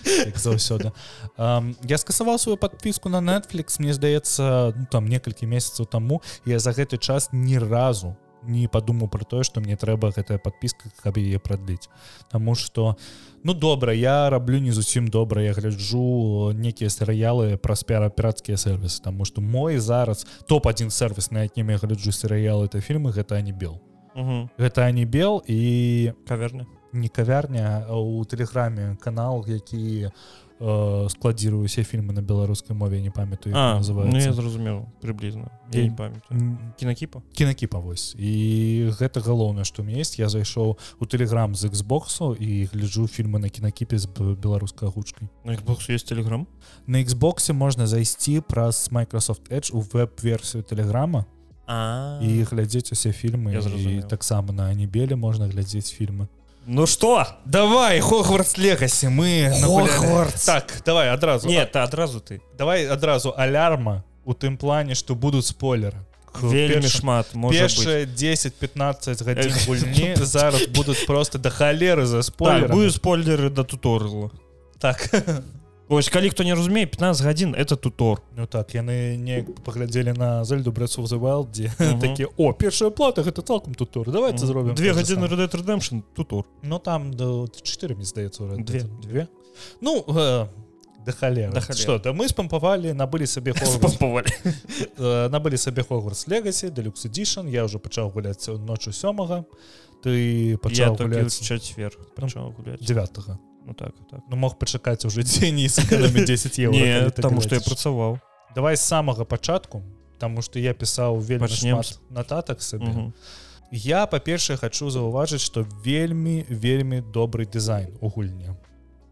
A: як заўсёды Ам, я скасаваў сваю подпіску на Netflix мне здаецца ну, там некалькі месяцаў таму я за гэты час ні разу не падумаў про тое што мне трэба гэтая подпіска каб яе продліць Таму что ну добра я раблю не зусім добра я гляджу некія серыялы пра спяра піратскія сервісы Таму что мой зараз топ-1 сервіс на якім я гляджу серыялы это фільмы гэта анібел гэта анібел і
B: каверны
A: не кавярня а у тэлеграме канал які э, складзірую усе фільмы на беларускай мове я не памятаю як
B: А, ну я
A: называецца
B: зразумеў прыблізна я не памятаю
A: М,
B: кінакіпа
A: кінакіпа вось і гэта галоўнае што мне есть я зайшоў у тэлеграм з Xбоксу і гляджу фільмы на кінакіпе з б- беларускай гучкай
B: на Xbox есть телеграм
A: на Xбосе можна зайсці праз Microsoft Edge у веб-версію тэлеграма
B: а
A: і глядзець усе фільмы
B: Я
A: і
B: зразумеў.
A: таксама на анібеле можна глядзець фільмы
B: ну что
A: давай Хогвартс легасі мы нагулялі.
B: Хогвартс.
A: так давай адразу
B: нет а адразу ты
A: давай адразу алярма у тым плане што будуць спойлеры К
B: вельмі
A: першым-
B: шмат можа быць
A: першыя 10-15 гадзін гульні зараз будуць просто да халеры за
B: так,
A: спойлер
B: будзе спойлеры да туторла
A: так
B: Вось калі хто не разумее 15 гадзін это тутор
A: ну так яны неяк паглядзелі на зельду брэцу завалдзе
B: Мгм.
A: такія о першая плата гэта цалкам тутор давайте зробім
B: две
A: то же
B: гадзіны
A: самае».
B: Red Dead Redemption тутор
A: ну там да, 4 мне здаецца у Red Dead.
B: Две.
A: две ну э, да халеры
B: Да халеры.
A: что да мы спампавалі набылі сабе Хогвартс
B: спампавалі
A: Э, набылі сабе Хогвартс легасі Deluxe Edition я ўжо пачаў гуляць ноччу сёмага ты
B: я
A: пачаў
B: толькі
A: гуляць
B: ў чацвер пачаў гуляць
A: 9
B: ну так так
A: Ну мог пачакаць уже дзень і сэканаміць 10 еўра
B: не
A: калі ты
B: таму што я
A: глядзіш.
B: працаваў
A: давай з самага пачатку Таму што я пісаў вельмі
B: Пачнем
A: шмат нататак сабе
B: Мгм.
A: Я па-першае хачу заўважыць што вельмі вельмі добры дызайн у гульні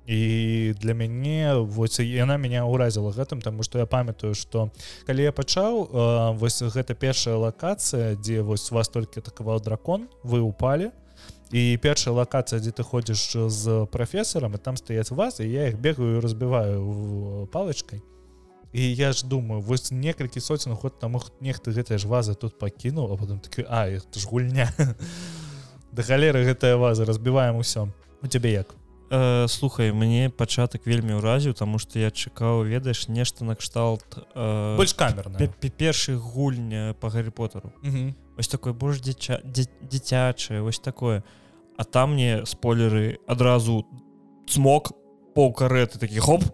A: і для мяне вось яна меня ўразіла гэтым таму што я памятаю што калі я пачаў э, вось гэта першая лакацыя дзе вось вас толькі атакаваў дракон вы упалі і першая лакацыя дзе ты ходзіш з прафесарам і там стаяць вас і я іх бегаю і разбіваю в- палачкай і я ж думаю вось некалькі соцен год таму х- нехта гэтыя ж вазы тут пакінуў а потом такі а это ж гульня да галеры гэтая ваза разбіваем усё у цябе як
B: Э, слухай мне пачатак вельмі ўразіў таму што я чакаў ведаеш нешта накшталт Э,
A: больш камерна
B: першых гульня по гарри поттеру вось такой больш дзіча дзі- дзіцячае вось такое а там мне спойлеры адразу цмок паўкарэты такі хоп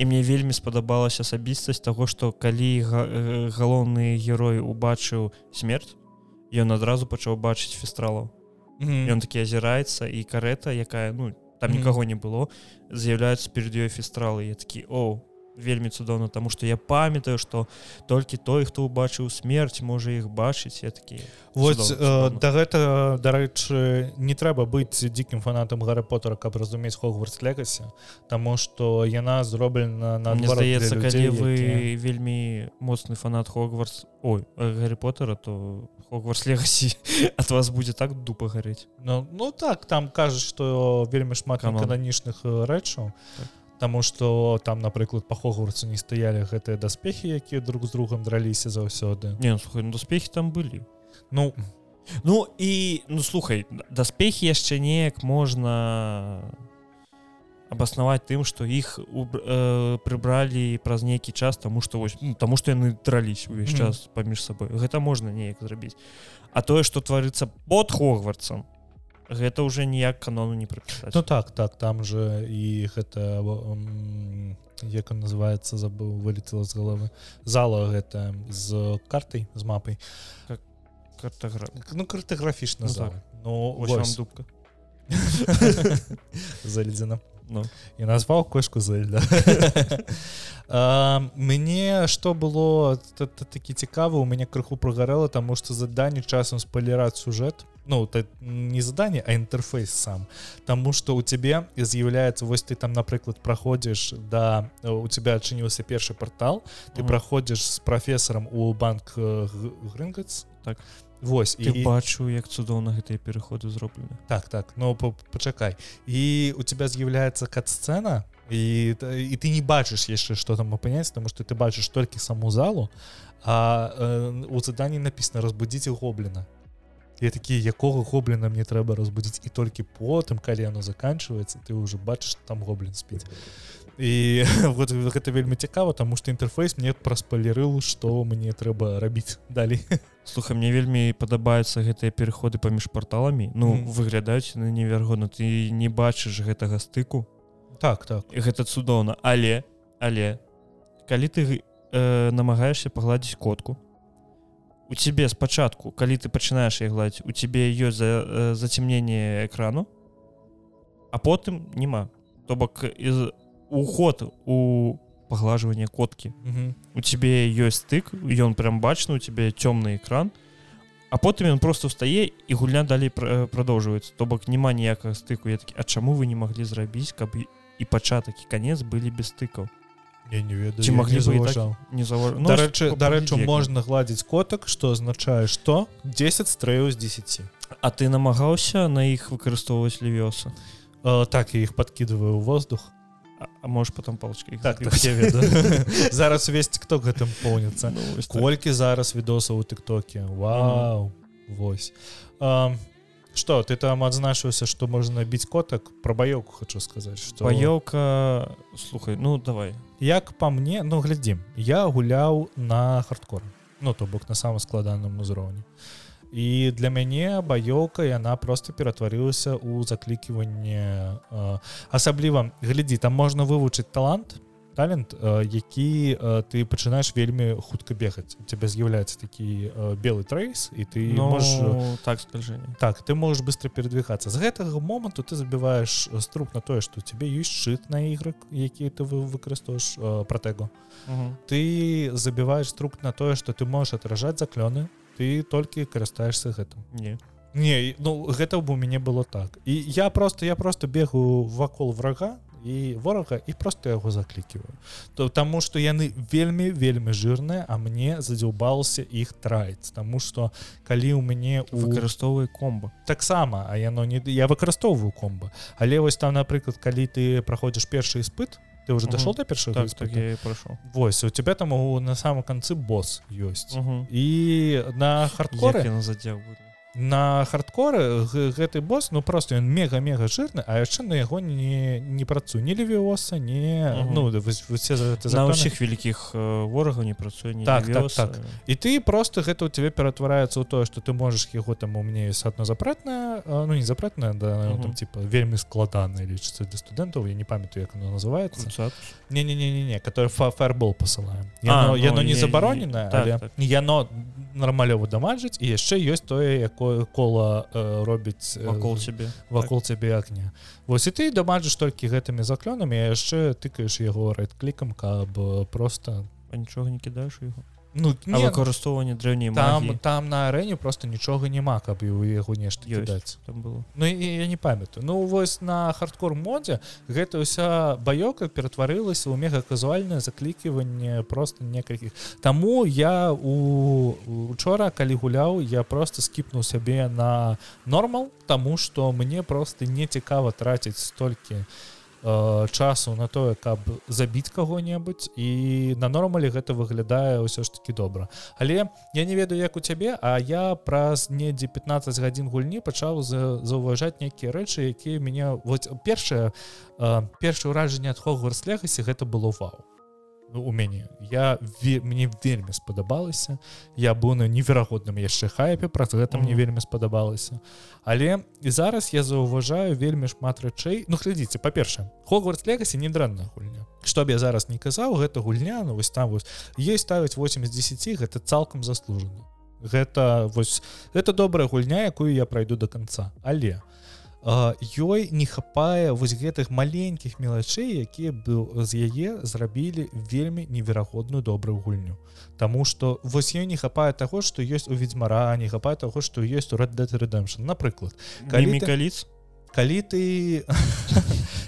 B: і мне вельмі спадабалася асабістасць таго што калі га- э, галоўны герой убачыў смерць ён адразу пачаў бачыць фестралаў ён такі азіраецца і карэта якая ну там
A: Мгм.
B: нікога не было з'яўляюцца перед ёй фестралы я такі о вельмі цудоўна таму што я памятаю што толькі той хто убачыў смерць можа іх бачыць я такі
A: Вось
B: Цудоўна,
A: э,
B: цудоўна.
A: да гэта дарэчы не трэба быць дзікім фанатам гары Поттера каб разумець Хогвартс легасі Таму што яна зроблена на
B: Мне здаецца калі вы вельмі моцны фанат Хогварс ой э, Гаррі Поттера то Хогварс легасі ад вас будзе так дупа гарэць
A: Ну, ну так там кажуць што вельмі шмат
B: Камон.
A: кананічных рэчаў
B: Так.
A: Таму што там напрыклад па Хогвартсу не стаялі гэтыя даспехі якія друг з другом драліся заўсёды
B: не ну, слухай ну, успехі там былі
A: Ну
B: Ну і ну слухай даспехі яшчэ неяк можна абаснаваць тым што іх уб- э, прыбралі праз нейкі час таму што вось ну, таму што яны дрались увесь
A: Мгм.
B: час паміж сабой гэта можна неяк зрабіць а тое што тварыцца под хогварцам гэта ўжо ніяк канону не прыпісаць
A: ну так так там же і гэта м, як он называется забыл вылетела з головы зала гэта з картай з мапай
B: картагра
A: ну картаграфічна
B: Ну,
A: зала.
B: так.
A: ну
B: Вось вам
A: вось.
B: дубка
A: заледзена
B: ну.
A: і назваў кошку Зельда А, мне што было та- та- такі цікава у мяне крыху прагарэла таму што заданні часам спаліраць сюжэт ну та, не заданне а інтэрфейс сам Таму што у цябе з'яўляецца вось ты там напрыклад праходзіш да э, у тебя адчыніўся першы портал ты
B: Мгм.
A: праходзіш з прафесарам у банк э, Г- грынгац
B: Так.
A: Вось
B: ты бачу як цудоўна гэтыя пераходы зроблены
A: так так ну па- пачакай і у тебя з'яўляецца кат-сцена і т- і ты не бачыш яшчэ что там апыняць тому что ты бачыш толькі саму залу а э, у заданні напісана разбудзіце гобліна Я такі якога гобліна мне трэба разбудзіць і толькі потым калі яно заканчваецца ты ўжо бачыш там гоблін спіць і вот гэта вельмі цікава таму што інтэрфейс мне праспалерыл што мне трэба рабіць далей
B: слухай мне вельмі падабаюцца гэтыя пераходы паміж порталамі ну
A: Мгм.
B: выглядаюць на неверагодна ты не бачыш гэтага стыку
A: так так
B: І гэта цудоўна але але калі ты э, намагаешься пагладзіць котку у цябе спачатку калі ты пачынаеш яе гладзіць у цябе ёсць за, э, зацемненне экрану а потым няма то бок из уход у паглажванне коткі
A: Мгм.
B: у цябе ёсць стык ён прям бачна у цябе цёмны экран а потым ён просто ўстае і гульня далей пра- продолжваецца то бок няма ніякага стыку я такі А чаму вы не маглі зрабіць каб і- і пачатак і канец былі без стыкаў
A: я не ведаю
B: Ці
A: я
B: маглі
A: не
B: бы і так
A: заўважаў.
B: не зава
A: Ну, дарэчы дарэчы можна гладзіць котак што азначае што 10 стрэяў з 10
B: А ты намагаўся на іх выкарыстоўваць левёса
A: Э, так я іх подкидываю ў воздух
B: А, а можешь потом палочкой іх
A: так, так я
B: забіў?
A: ведаю зараз увесь тикток гэтым поўніцца
B: Ну, вось так.
A: колькі зараз відосаў у тыктоке Вау Вось А, что ты там адзначыўся што можна біць котак пра баёку хочу сказаць что
B: паёлка слухай ну давай
A: як по мне ну глядзім я гуляў на хардкор ну то бок на самым складаным узроўні і для мяне баёўка яна просто ператварылася ў закліківанне э, асабліва глядзі там можна вывучыць талант талент э, які э, ты пачынаеш вельмі хутка бегаць у цябе з'яўляецца такі э, белы трейс і ты
B: ну,
A: можаш э,
B: так скажи
A: так ты можешь быстро передвигаться з гэтага моманту ты забіваешь э, струк на тое что тебе ёсць шыт на іграк які ты вы выкарыстоўваешь э, протэгу
B: Мгм.
A: ты забіваешь струк на тое что ты можешь отражать заклёны ты толькі карыстаешься гэтым
B: не
A: не і- ну гэта б у мяне было так і я просто я просто бегаю вакол врага і ворага і просто яго заклікиваю то таму что яны вельмі вельмі жирныя а мне задзюбался іх траіць Таму что калі ў мяне у
B: выкарыстоўвай комбо
A: таксама а яно не я выкарыстоўваю комбо але вось там напрыклад калі ты праходзіш першы іспыт ты уже
B: Мгм.
A: дайшоў до першага
B: так, так
A: іспыту?
B: я і прайшоў
A: Вось у тебя там у, на самом канцы босс ёсць
B: Мгм.
A: і на хардкоры
B: Як яна задзяў будзе
A: на хардкоры г- гэты босс ну просто ён мега мега жирны а яшчэ на яго не не працую не левіоса не
B: Мгм.
A: ну вось- вось все за-
B: на
A: законы.
B: ўсіх вялікіх э, ворагаў не працуе не
A: Так, так, так. і ты просто гэта у тебе ператвараецца ў тое что ты можешь яго там у мне ёсць одно запретное а, ну не запретное да
B: Мгм.
A: угу. там типа вельмі складанае лічыцца для студэнтаў я не памятаю як оно называется не не не не не который фаербол посылаем
B: А,
A: яно, а,
B: ну,
A: яно не
B: я-
A: забаронена
B: я- так,
A: так, але
B: так.
A: так. яно нармалёва дамажыць і яшчэ ёсць тое якое кола э, робіць э,
B: вакол сябе
A: вакол так. цябе акня Вось і ты дамажыш толькі гэтымі заклёнамі а яшчэ тыкаеш яго рэд-клікам каб э, просто
B: а нічога не кідаеш у яго
A: ну
B: а
A: не,
B: выкарыстоўванне драўней
A: там
B: там
A: там на арэне просто нічога няма каб і ў яго нешта
B: Ёсць.
A: кідаць
B: там было
A: Ну і- і я не памятаю Ну вось на хардкор модзе гэта ўся баёка ператварылася ў мега казуальнае закліківанне просто некалькіх Таму я у учора калі гуляў я просто скіпнуў сябе на нормал Таму што мне просто не цікава траціць столькі э, часу на тое каб забіць каго-небудзь і на нормале гэта выглядае ўсё ж таки добра але я не ведаю як у цябе а я праз недзе 15 гадзін гульні пачаў за- заўважаць нейкія рэчы якія мяне вось першае э, першае ўражанне ад хогварс легасе гэта было вау Ну, у мяне я ве, мне вельмі спадабалася я быў на неверагодным яшчэ хайпе праз гэта мне
B: Мгм.
A: вельмі спадабалася але і зараз я заўважаю вельмі шмат рэчэй ну глядзіце па-першае хогварс легасе не дранная гульня што б я зараз не казаў гэта гульня ну вось там вось ей ставіць 8 з 10 гэта цалкам заслужана гэта вось это добрая гульня якую я пройду до конца але а, ёй не хапае вось гэтых маленькіх мелачэй якія быў з яе зрабілі вельмі неверагодную добрую гульню Таму что вось ёй не хапае таго што ёсць у ведзьмара не хапае таго што ёсць у Red Dead Redemption напрыклад Калі ты-
B: мікаліц
A: калі ты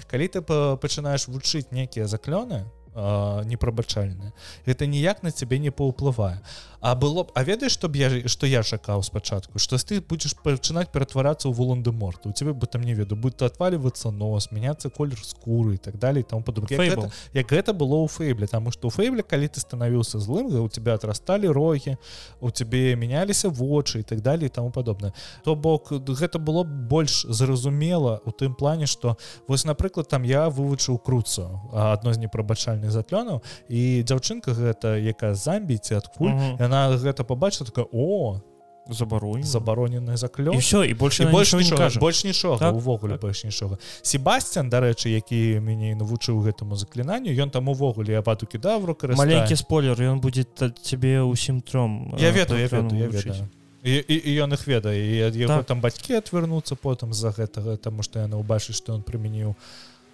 A: калі ты па- пачынаеш вучыць некія заклёны э, э, непрабачальнае гэта ніяк на цябе не паўплывае А было б а ведаеш што б я ж- што я чакаў спачатку што ты будзеш пачынаць ператварацца ў волан-де-морт у цябе бы там не веду будто отваливацца нос мяняцца колер скуры і так далее і там падобна Як
B: Фэйбл.
A: гэта- як гэта было ў фэйбле таму што ў фэйбле калі ты станавіўся злым га, у тебя отрасталі рогі у цябе мяняліся вочы і так далее і таму падобна то бок д- гэта было б больш зразумела у тым плане што вось напрыклад там я вывучыў круцу адно з непрабачальных затлёнаў і дзяўчынка гэта якая з Замбіі ці адкуль
B: Мгм.
A: яна гэта пабачыла такая о
B: забаруй
A: забароненая
B: і
A: заклён
B: все і больше
A: І
B: яна
A: больш
B: нічого не
A: нічога
B: кажа
A: больш нічога
B: Так,
A: увогуле
B: так.
A: больш нічога Себастьян дарэчы які мяне і навучыў гэтаму заклінанню ён там увогуле абаду кідаў
B: маленькі
A: рукарыстае
B: спойлер ён будет та- тебе ўсім тром
A: я
B: э,
A: ведаю я
B: патрон
A: ведаю я
B: вручыць.
A: ведаю І, і, і ён іх ведае і ад яго
B: Так.
A: там бацькі адвярнуцца потым з-за гэтага таму што яна ўбачыць што ён прымяніў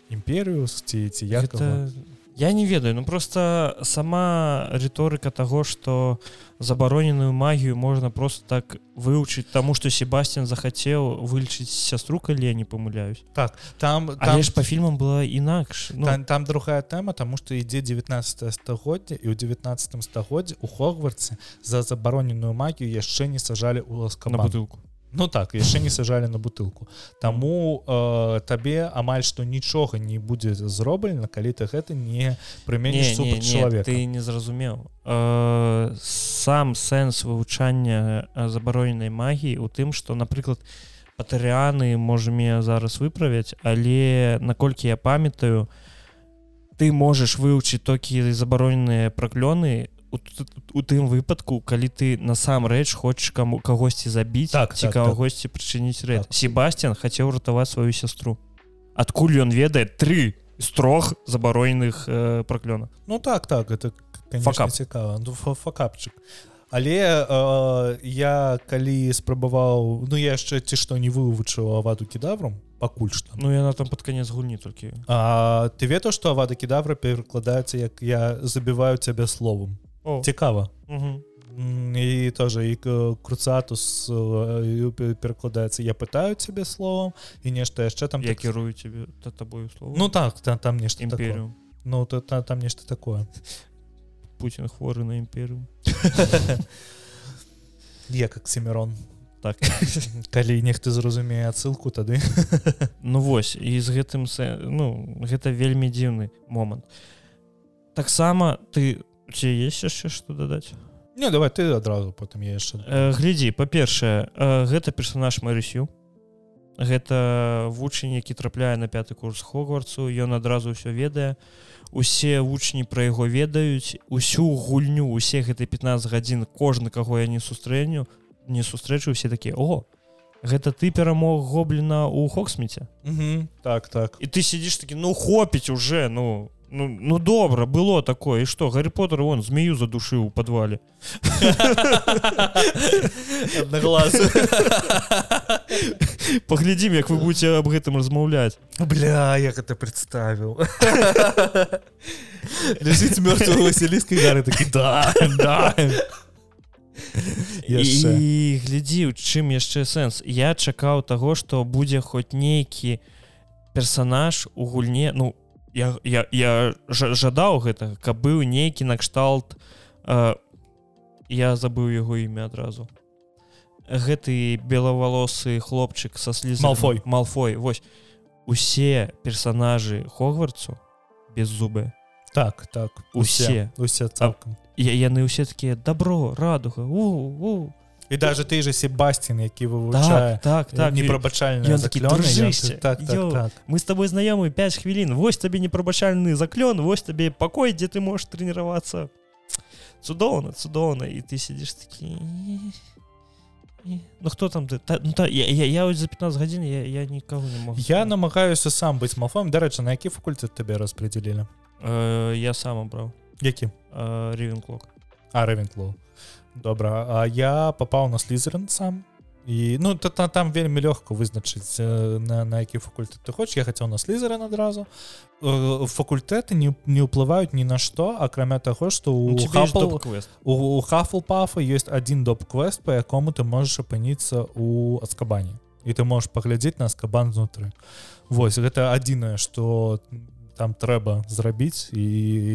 A: імперыю ці ці як
B: Гэта- я не ведаю ну просто сама рыторыка таго что забароненую магію можна просто так вывучыць таму што Себастьян захацеў вылечыць сястру калі я не памыляюсь
A: там там
B: але ж по фільмам была інакш ну,
A: там, там другая тэма таму што ідзе 19 стагоддзе і ў 19 стагоддзе у хогварце за забароненую магію яшчэ не сажалі ў
B: на
A: ласкабан
B: бутылку
A: Ну так яшчэ не сажалі на бутылку Таму э, табе амаль што нічога не будзе зроблена калі ты гэта не прыменіш супраць чалавека
B: ты не зразумеў Э, сам сэнс вывучання э, забароненай магіі у тым што напрыклад патэрыяны можа мне зараз выправяць але наколькі я памятаю ты можаш вывучыць толькі забароненыя праклёны у т- у тым выпадку калі ты насамрэч хочаш каму кагосьці забіць
A: Так,
B: ці
A: так, так.
B: кагосьці прычыніць рэд
A: Так.
B: Себастьян хацеў ратаваць сваю сястру адкуль ён ведае тры з трох забароненых э, праклёна
A: Ну так так это конечно,
B: Факап.
A: цікава ну, фа- факапчык але э, я калі спрабаваў Ну я яшчэ ці што не вывучыў аваду кедаврам пакуль што
B: Ну яна там под конец гульні толькі
A: А ты ведаў што авада кедавра перакладаецца як я забіваю цябе словом
B: О,
A: цікава
B: мгм.
A: М, і тоже і к- круцатус э, і пе- перакладаецца я пытаю цябе словом і нешта яшчэ там
B: я
A: так-
B: кірую тебе та табою слово
A: ну так там там нешта такое.
B: імперію
A: ну та- та- там нешта такое так.
B: Путін хворы на імперыю
A: я как семерон
B: Так.
A: калі нехта зразумее адсылку тады
B: Ну вось і з гэтым сэ- ну гэта вельмі дзіўны момант таксама ты ці есть яшчэ што дадаць
A: не давай ты адразу потым я яшчэ
B: Э, глядзі па-першае э, гэта персонаж Марысю гэта вучань які трапляе на пяты курс хогварцу ён адразу ўсё ведае усе вучні пра яго ведаюць усю гульню усе гэты 15 гадзін кожны каго я не сустрэню не сустрэчу усе такія о гэта ты перамог гобліна у хоксміце
A: Мгм, так так
B: і ты сидишь такі ну хопіць уже ну ну ну добра было такое і что гарри поттер он змею задушыў у подвале
A: аднаглаз
B: паглядзім як вы будете аб гэтым размаўляць
A: бля я гэта представіў ляжыць мёртвы васіліскай гары такі да да яшчэ
B: і глядзі у чым яшчэ сэнс я чакаў таго што будзе хоць нейкі персонаж у гульне ну я я, я жа- жадаў гэта каб быў нейкі накшталт э, я забыў яго імя адразу гэты белавалосы хлопчык са сліз
A: Малфой.
B: малфой вось усе персонажы хогварцу без зубы
A: так так
B: Усе.
A: усе цалкам
B: яны ўсе такія добро радуга у, у.
A: і даже ты же себастин які вывучае
B: так так так і-
A: непрабачальна
B: ён такі, «Дружыще,
A: так так
B: ёу».
A: так
B: мы с тобой знаёмы 5 хвілін вось табе непрабачальны заклён вось табе пакой дзе ты можешь трэніравацца цудоўна цудоўна і ты сидишь такі «Э, э». ну хто там ты та, ну, та, я, я, я вось за 15 гадзін я, я нікого не мог
A: Я намагаюся сам быць малфоем дарэчы на які факультэт тебе распределілі
B: э, я сам абраў
A: які
B: э, ревенклок
A: а рэвенклоу добра А я попаў на слізерн сам і ну та, та там вельмі лёгка вызначыць э, на, на які факультэт ты хочаш я хацеў на слізеран адразу Э, факультэты не, не ўплываюць ні на што акрамя таго што
B: Ну,
A: у Хапл-
B: квест
A: у хафлпафа ёсць адзін доп-квест па якому ты можаш апыніцца у адскабане і ты можешь паглядзець на аскабан знутры Вось гэта адзінае што там трэба зрабіць і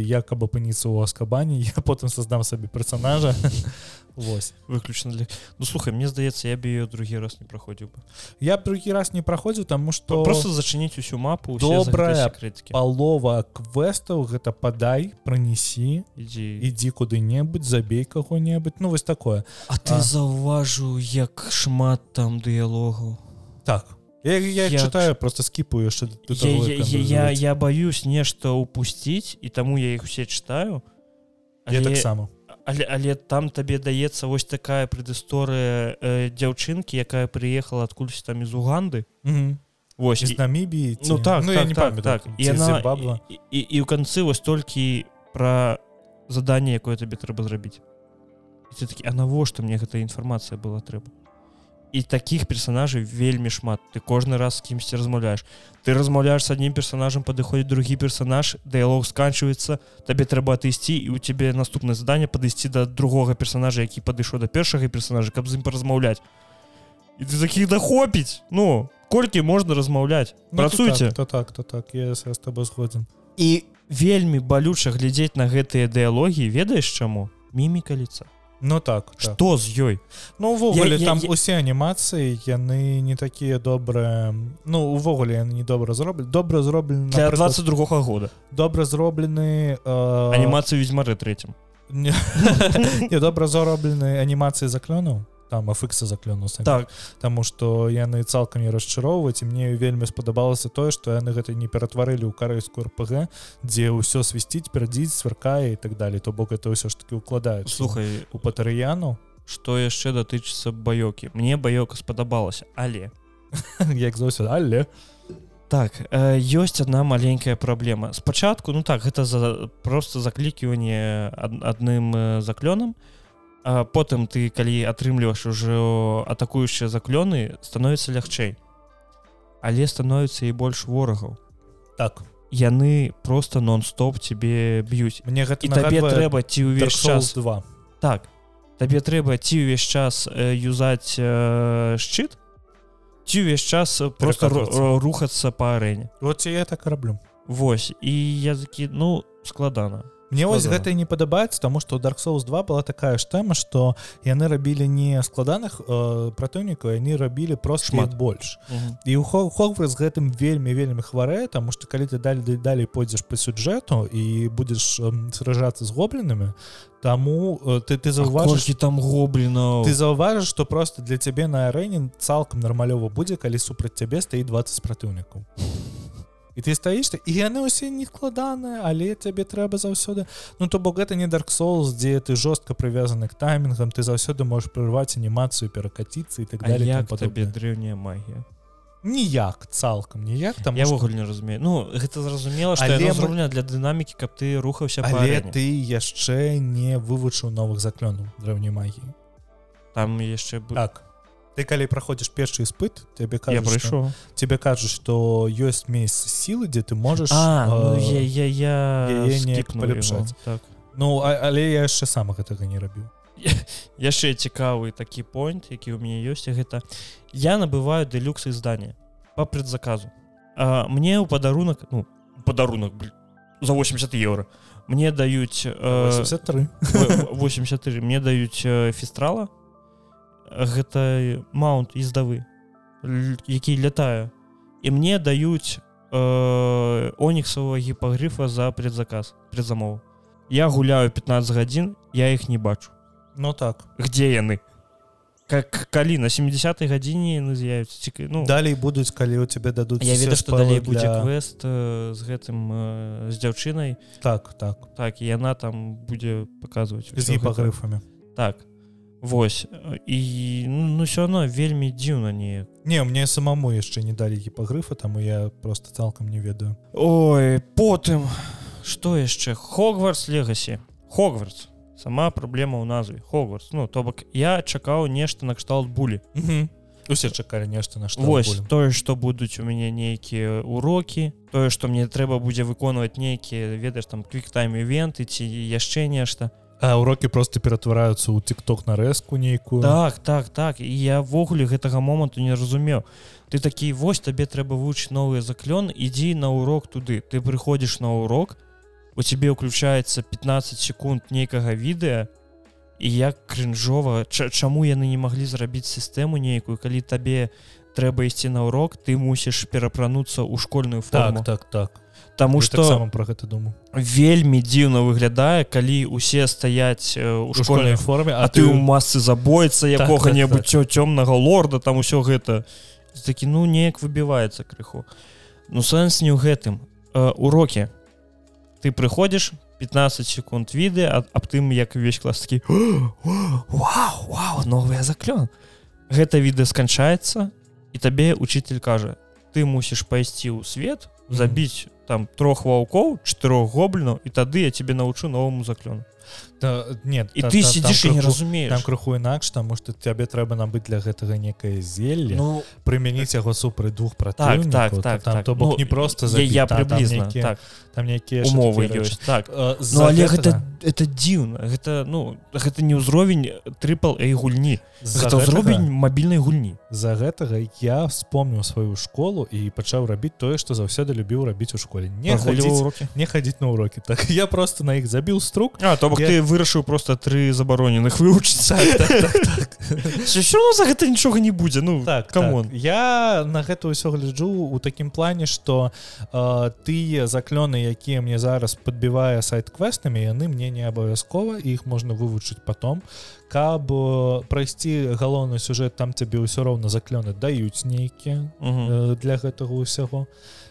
A: я каб апыніцца ў аскабані я потым создам сабе персонажа Вось
B: выключна для ну слухай мне здаецца я б ее другі раз не праходзіў бы
A: я б другі раз не праходзіў таму што
B: просто зачыніць усю мапу
A: Добрая
B: крыткі
A: палова квестаў гэта падай прынесі
B: ідзі
A: ідзі куды-небудзь забей каго-небудзь ну вось такое
B: А ты
A: А.
B: заўважыў як шмат там дыялогаў
A: так я, я, я
B: Як
A: читаю просто скіпу яшчэ до
B: я,
A: того,
B: я,
A: як яно
B: я,
A: называецца.
B: я баюсь нешта упусціць і таму я іх усе чытаю
A: я так таксама
B: але, але там табе даецца вось такая предысторыя э, дзяўчынкі якая прыехала адкульсь там из уганды
A: Мгм.
B: Вось
A: З
B: і-
A: Намібіі ці-
B: ну так
A: ну, я
B: так,
A: не
B: так, так.
A: памятаю,
B: і
A: ці
B: яна
A: Зімбабве.
B: і, і, і ў канцы вось толькі пра заданне якое табе трэба зрабіць І ты такі а навошта мне гэта інфармацыя была трэба і таких персонажей вельмі шмат ты кожны раз з кімсьці размаўляеш ты размаўляешь с адным персонажам падыходзіць другі персонаж дыялог сканчваецца табе трэба отысці і у тебе наступнае заданне падысці да другога персонажа які падышоў да першага персонажа каб з ім паразмаўляць і ты таких дахопіць ну колькі можна размаўляць
A: Ну, то
B: працуйце
A: так, то так то так я с я з тобой згодзін
B: і вельмі балюча глядзець на гэтыя дыялогі ведаеш чаму міміка ліца
A: Ну так, так.
B: что з ёй
A: Ну увогуле
B: Я- я-
A: там
B: я-
A: усе анімацыі яны не такія добрыя ну увогуле яны не добра зроблены добра зроблены
B: для
A: напрыклад,
B: 22 -го года
A: добра зроблены э,
B: анімацыю ведьмары трэцім
A: не, не, добра зроблены анімацыі заклёнуў там афіксы заклёнуў самі.
B: так
A: Таму што яны цалкам не расчароўваць і мне вельмі спадабалася тое што яны гэта не ператварылі ў карэйскую РПГ дзе ўсё свісціць перадзіць сверкае і так далее то бок это ўсё ж таки укладаюць
B: слухай
A: у патарыяну
B: што яшчэ датычыцца баёкі мне баёка спадабалася але
A: як заўсёды але
B: так э, ёсць одна маленькая праблема спачатку ну так гэта за просто закліківанне ад- адным э, заклёнам а потым ты калі атрымліваешь ужо атакуючыя заклёны становіцца лягчэй але становіцца і больш ворагаў
A: так
B: яны просто нон-стоп тебе б'юць
A: мне гэта
B: і табе
A: нагадвае
B: трэба ці
A: Dark
B: ўвесь
A: Souls
B: час
A: 2
B: так табе трэба ці ўвесь час э, юзаць э, шчыт ці ўвесь час э, просто ру-
A: Перакатвацца.
B: рухацца па арэне
A: вот я так і раблю
B: Вось і языкі ну складана
A: Мне вось
B: Складана.
A: гэта і не падабаецца таму што у Dark Souls 2 была такая ж тэма што яны рабілі не складаных э, праціўнікаў яны рабілі просто
B: Шмат.
A: шмат больш і у Хогвартс гэтым вельмі вельмі хварэе таму што калі ты далей далей пойдзеш по сюджэту і будзеш эм, сражацца з гоблінамі таму э, ты ты заўважыш
B: Важкі там гобліна
A: ты заўважыш што просто для цябе на арэне цалкам нармалёва будзе калі супраць цябе стаіць 20 праціўнікаў і ты стаіш і яны ўсе не складаныя але цябе трэба заўсёды ну то бок гэта не Dark Souls дзе ты жорстка прывязаны к таймінгам ты заўсёды можешь прырваць анімацыю перакаціцца і так
B: А
A: далее і
B: як
A: тому падобнае.
B: табе древняя магія
A: ніяк цалкам ніяк там
B: я ўвогуле не разумею Ну гэта зразумела што
A: Але мы-
B: яно зроблена для дынамікі каб ты рухаўся па
A: але
B: арэне.
A: ты яшчэ не вывучыў новых заклёнаў дрэўняй магіі
B: там яшчэ бу-
A: так ты калі праходзіш першы іспыт тебе
B: я
A: кажуць, што-
B: прыйшоў
A: тебе кажуць што ёсць месяц сілы дзе ты можаш
B: А, ну,
A: э,
B: я, я, я
A: яе неяк
B: скіпнуў яго,
A: паляпшаць.
B: так.
A: ну а- але я яшчэ сама гэтага не рабіў
B: яшчэ цікавы такі пойнт які у мяне ёсць і гэта я набываю дэлюкс издания по предзаказу а, мне ў падарунак ну падарунак блін, за 80 еўра мне даюць э,
A: 83
B: во- 84 мне даюць э, фестрала гэта маунт ездавы л- які лятае і мне даюць э, оніксавого гіпагрыфа за предзаказ предзамову я гуляю 15 гадзін я іх не бачу
A: ну так
B: где яны как калі на 70 гадзіне яны з'явяцца ці ну
A: далей будуць калі у тебе дадуць
B: я
A: усе
B: ведаю што
A: спелы
B: далей будзе
A: для-
B: квест э, з гэтым э, з дзяўчынай
A: так так
B: так і яна там будзе паказваць
A: з
B: усё гэта.
A: гіпагрыфамі
B: так Вось э, і ну все одно вельмі дзіўна неяк
A: не мне самому яшчэ не далі гіпагрыфа таму я просто цалкам не ведаю
B: Ой потым что яшчэ Хогвартс легасе Хогвартс сама праблема ў назве Хогвартс Ну то бок я чакаў нешта накшталт булі
A: усе чакалі нешта на што
B: Вось тое што будуць у мяне нейкія урокі тое што мне трэба будзе выконваць нейкія ведаеш там квіктайм івенты ці яшчэ нешта
A: А урокі просто ператвараюцца ў тикток нарэзку нейкую
B: так так так і я ввогуле гэтага моманту не разумеў ты такі вось табе трэба вучыць новы заклён ідзі на урок туды ты прыходзіш на урок у цябе ўключаецца 15 секунд нейкага відэа і як крынжова ча- чаму яны не маглі зрабіць сістэму нейкую калі табе трэба ісці на урок ты мусіш перапрануцца ў школьную
A: так
B: форму
A: так так
B: Таму
A: Я
B: што
A: таксама про гэта думаю
B: вельмі дзіўна выглядае калі усе стаяць э, у
A: у школьнай
B: школьнай
A: форме
B: а ты ў масцы забойца
A: Так,
B: якога-небудзь
A: так,
B: так, цёмнага лорда там усё гэта Ты такі ну неяк выбіваецца крыху ну сэнс не ў гэтым э, урокі ты прыходзіш 15 секунд віды аб тым як увесь клас такі Вау Вау новыя заклён гэта відэа сканчаецца і табе учитель кажа ты мусіш пайсці ў свет
A: Мгм.
B: забіць там трох ваўкоў чатырох гоблінаў і тады я тебе навучу новаму заклёну
A: Та- нет
B: і
A: та-
B: ты
A: та-
B: сидзіш
A: там
B: і не
A: крыху-
B: разумееш
A: там крыху інакш таму што цябе трэба набыць для гэтага некае зелле
B: ну
A: прымяніць яго супраць двух
B: так
A: праціўнікаў
B: так
A: Та-
B: так
A: там
B: так.
A: то бок не просто
B: я,
A: забіць,
B: я
A: та, там
B: прыблізна
A: нейкія-
B: так
A: там нейкія яшчэ
B: умовы
A: такія рэчы.
B: ёсць так
A: Э, з-за
B: Ну але
A: гэтага-
B: гэта гэта дзіўна гэта ну гэта не ўзровень трыпл эй гульні
A: з-за
B: гэта ўзровень мабільнай гульні
A: з-за гэтага я вспомніў сваю школу і пачаў рабіць тое што заўсёды любіў рабіць у школе не
B: Прагульваў
A: хадзіць
B: урокі
A: не хадзіць на урокі так я просто на іх забіў струк
B: А, то бок
A: Я-
B: ты вырашыў просто тры забароненых вывучыць так, все за гэта нічога не будзе ну
A: так
B: камон
A: так. я на гэта ўсё гляджу у такім плане што э, тыя заклёны якія мне зараз подбівае сайт квестамі яны мне не абавязкова іх можна вывучыць потом каб э, прайсці галоўны сюжэт там цябе ўсё роўна заклёны даюць нейкія
B: Мгм.
A: э, для гэтага ўсяго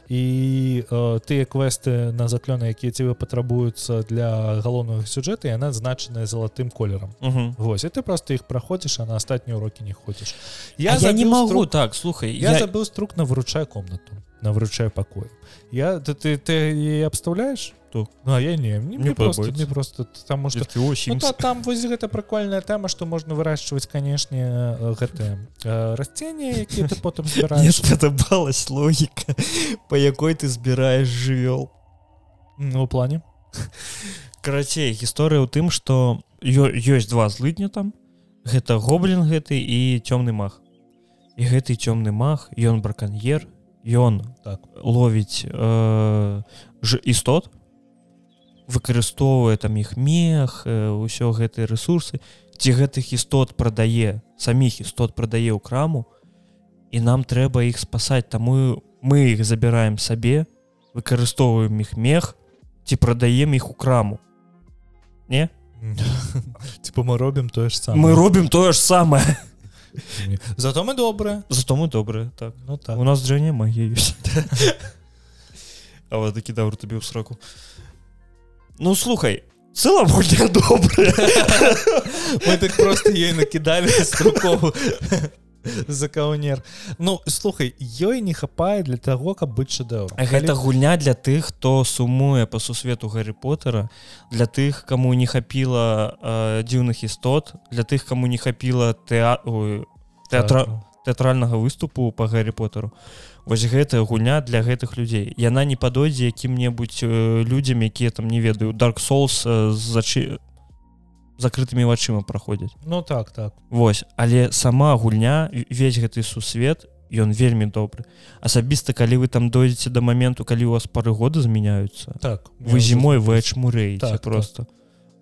A: і э, тыя квесты на заклёны якія цябе патрабуюцца для галоўнага сюжэта яна значаная залатым колерам
B: Мгм.
A: Вось і ты просто іх праходзіш а на астатнія урокі не ходзіш
B: А я не
A: забіў
B: магу
A: струк-
B: так слухай
A: я,
B: я
A: забыў струк на выручай комнату на выручай пакой я ты ты, ты яе абстаўляеш
B: Так.
A: Ну, а я не мне,
B: Мне
A: мне просто
B: падабаецца.
A: не просто таму что
B: Такі, «О,
A: Ну,
B: Sims».
A: та, там вось гэта прыкольная тэма што можна вырошчваць канешне э, гэтыя э, расценні якія ты потым
B: Мне
A: збіраеш
B: спадабалась логіка па якой ты збіраеш жывёл
A: Ну, у плане
B: карацей гісторыя ў тым што ё- ёсць два злыдня там гэта гоблін гэты і цёмны мах і гэты цёмны мах ён браканьер ён
A: Так.
B: ловіць э, ж істот выкарыстоўвае там іх мех э, ўсё гэтыя ресурсы ці гэтых істот прадае саміх істот прадае ў краму і нам трэба іх спасаць таму мы іх забіраем сабе выкарыстоўваем іх мех ці прадаем іх у краму не
A: типа мы робім тое ж самае
B: мы робім тое ж самае
A: зато мы добрыя
B: зато мы добрыя так
A: Ну так
B: у нас джане магія ёсць а вот такі даўр табе ў сроку ну слухай в цэлам гульня добрая
A: Мы так просто ей накидали струкову за каўнер Ну слухай ёй не хапае для таго каб быць шэдэўрам
B: гэта гульня для тых хто сумуе па сусвету гарри поттера для тых каму не хапіла э, дзіўных істот для тых каму не хапіла тэа... ой,
A: Так,
B: тэатра
A: ну,
B: тэатральнага выступу по гарри поттеру вось гэтая гульня для гэтых людзей яна не падойдзе якім-небудзь э, людзям якія там не ведаю dark souls э, з зачы закрытымі вачыма праходзяць
A: Ну так так
B: Вось але сама гульня в- весь гэты сусвет ён вельмі добры асабіста калі вы там дойдзеце до моменту калі у вас пары года змяняюцца
A: так
B: вы зімой вы ачмурэеце
A: Так, так.
B: так, просто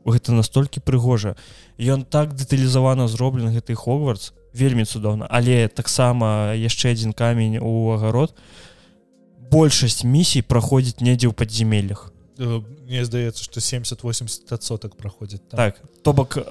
B: гэта настолькі прыгожа ён так дэталізавана зроблен гэты хогвартс вельмі цудоўна але таксама яшчэ адзін камень у агарод большасць місій праходзіць недзе ў падземеллях
A: Э, Мне здаецца што 70-80сотак праходзіць там.
B: так то бок э,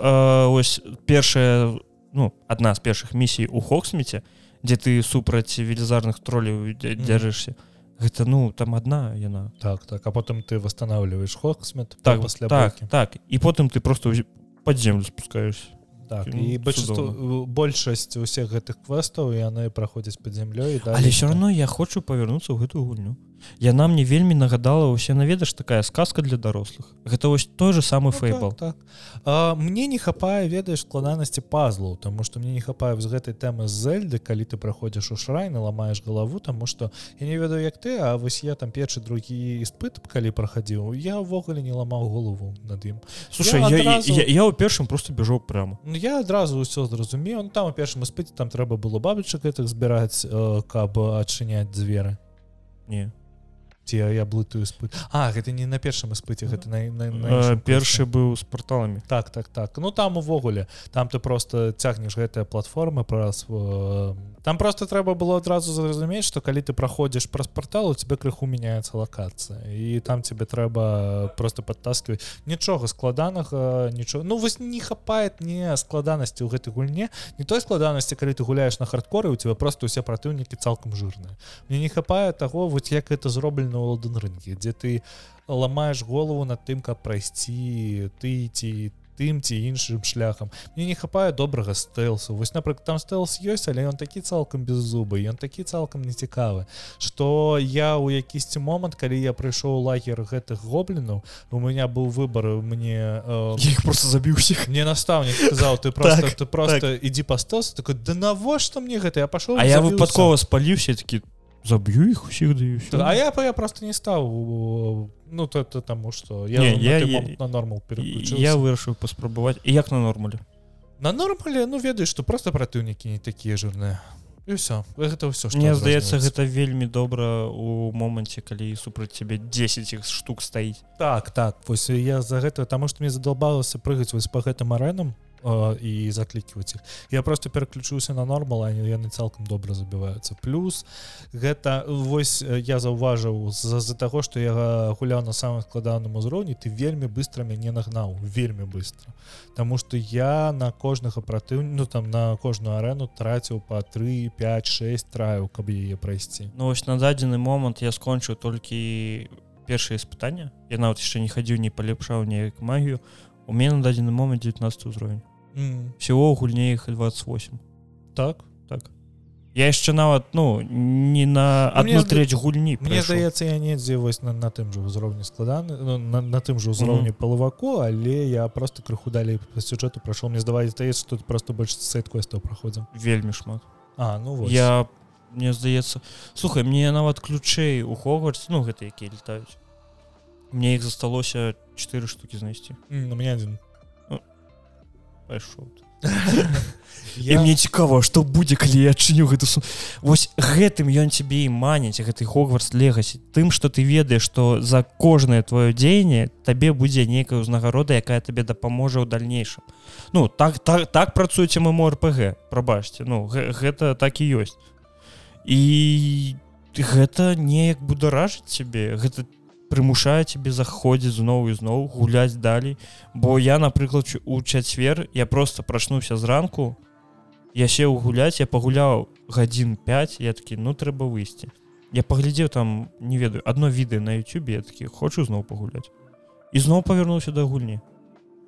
B: ось першая ну адна з першых місій у хоксміце дзе ты супраць велізарных троляў дзя-
A: Мгм.
B: дзярышся гэта ну там адна яна
A: так так а потым ты восстанавливаешь хоксмет
B: так
A: пасля
B: так
A: бойкі.
B: так і потым ты просто ў зе- пад землю спускаешься
A: так
B: ну,
A: і большинство э, большасць усіх гэтых квестаў яны праходзяць под зямлёй і
B: але все равно я хочу павярнуцца ў гэтую гульню яна мне вельмі нагадала ўсе наведаеш такая сказка для дарослых гэта вось той же самы
A: Ну,
B: фэйбл
A: так, так. А, мне не хапае ведаеш складанасці пазлаў тому что мне не хапае з гэтай тэмы з зельды калі ты праходзіш у шрайны ламаеш галаву тому что я не ведаю як ты а вось я там першы другі іспыт калі прахадзіў я ўвогуле не ламаў голову над ім
B: слушай
A: Я
B: я, я,
A: адразу-
B: я, я ў першым просто бяжоў прямо
A: Ну, я адразу ўсё зразумеў ну, там у першым іспыце там трэба было бабачак гэтых збіраць э, каб адчыняць дзверы
B: не
A: ці я блытую іспыт А гэта не на першым іспыце гэта на, на, на
B: Э,
A: іншым курсе.
B: першы быў з порталамі
A: так так так ну там увогуле там ты просто цягнеш гэтыя платформы праз э, там просто трэба было адразу зразумець што калі ты праходзіш праз портал у тебе крыху мяняецца лакацыя і там тебе трэба просто падтаскивать нічога складанага нічого ну вось не хапает не складанасці ў гэтай гульне не той складанасці калі ты гуляеш на хардкоры у тебя просто усе праціўнікі цалкам жирныя мне не хапае таго вот як это зроблена ў ладан рынке дзе ты ламаеш голову над тым каб прайсці ты ці тым ці іншым шляхам мне не хапае добрага стэлсу вось напрыклад там стэлс ёсць але ён такі цалкам без зубы ён такі цалкам нецікавы што я ў якісьці момант калі я прыйшоў у лагер гэтых гоблінаў у меня быў выбор мне э,
B: іх просто забіў всех
A: мне настаўнік сказаў ты просто
B: Так,
A: ты просто ідзі па стэлсу такой да навошта мне гэта я пашоў
B: а я
A: забіўся».
B: выпадкова спаліўся такі заб'ю іх усіх даю
A: Та- А я, я просто не стаў у- ну то это таму что я,
B: Не,
A: на
B: я-
A: той
B: я-
A: момант на нормал переключился
B: я вырашыў паспрабаваць і як на нормале
A: на нормале ну ведаеш што просто праціўнікі не такія жирныя і ўсё гэта ўсё што
B: Мне здаецца
A: адрозніваецца.
B: гэта вельмі добра у моманце калі супраць цябе 10 іх штук стаіць
A: так так вось я за гэта таму што мне задолбалася прыгаць вось по гэтым арэнам э, і заклікваць іх я просто пераключыўся на нормал а яны цалкам добра забіваюцца плюс гэта вось э, я заўважыў з-за таго што я га- гуляў на самым складаным узроўні ты вельмі быстро мяне нагнаў вельмі быстро Таму што я на кожнага пратыўню ну, там на кожную арэну траціў па 3 5 6 траю каб яе прайсці
B: Ну вось на дадзены момант я скончыў толькі першае испытанне я нават яшчэ не хадзіў не паляпшаў неяк магію у мяне на дадзены момант 19 узровень
A: mm.
B: всего ў гульне іх 28
A: так
B: так я яшчэ нават ну не на
A: Ну, мне
B: одну
A: зда-
B: треть гульні
A: Мне
B: прайшоў.
A: здаецца я недзе вось на, на тым же ўзроўні складаны ну, на, на тым же ўзроўні mm -hmm. палаваку але я просто крыху далей по сюжэту прайшоў мне здаваць здаецца што тут просто больш сайт-квестаў праходзім
B: вельмі шмат
A: А ну вось.
B: я мне здаецца слухай мне нават ключэй у хогвартс ну гэта якія летаюць мне іх засталося 4 штуки знайсці
A: М, ну, у меня адзін
B: пайшоў ты.
A: я...
B: І мне цікава што будзе калі я адчыню гэту сум Вось гэтым ён цябе і маніць гэты хогварс легасі тым што ты ведаеш што за кожнае твоё дзеянне табе будзе нейкая ўзнагарода якая табе дапаможа ў дальнейшым Ну так так, так працуеце мы морпг прабачце ну гэ- гэта так і ёсць і гэта неяк бударажыць цябе гэта прымушае цябе заходзіць зноў і зноў гуляць далей бо я напрыклад чу- у чацвер я просто прачнуўся зранку я сеў гуляць я пагуляў гадзін 5 я такі ну трэба выйсці я паглядзеў там не ведаю одно відэа на Ютубе я такі хочу зноў пагуляць і зноў павярнуўся да гульні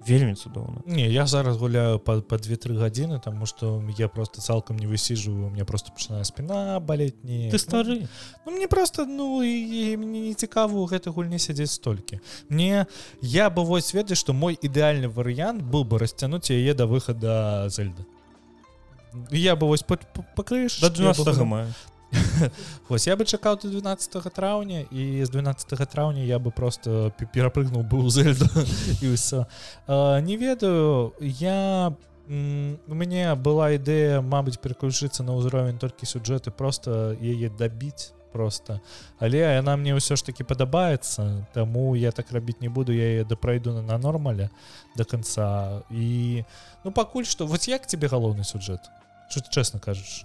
B: вельмі цудоўна
A: Не, я зараз гуляю по, по 2-3 гадзіны тому что я просто цалкам не высиживаю у меня просто пачынае спина балець не
B: ты стары
A: Ну, мне просто ну і, і мне не цікава у гэтай гульні сядзець столькі мне я бы вось ведаю што мой ідэальны варыянт быў бы расцягнуць яе да выхада зельда я бы вось пак- пак- пакрыш
B: до
A: я бы
B: 12
A: гуляў.
B: мая
A: Вось я бы чакаў до 12 траўня і з 12 траўня я бы просто пе- перапрыгнуў быў зельду і ўсё Э, не ведаю я м, у мяне была ідэя Мабыць переключыцца на ўзровень толькі сюджэты просто яе дабіць просто але яна мне ўсё ж таки падабаецца таму я так рабіць не буду я яе дапрайду на, на нормале до конца і ну пакуль што вось як тебе галоўны сюджэт Чу- чесна кажаш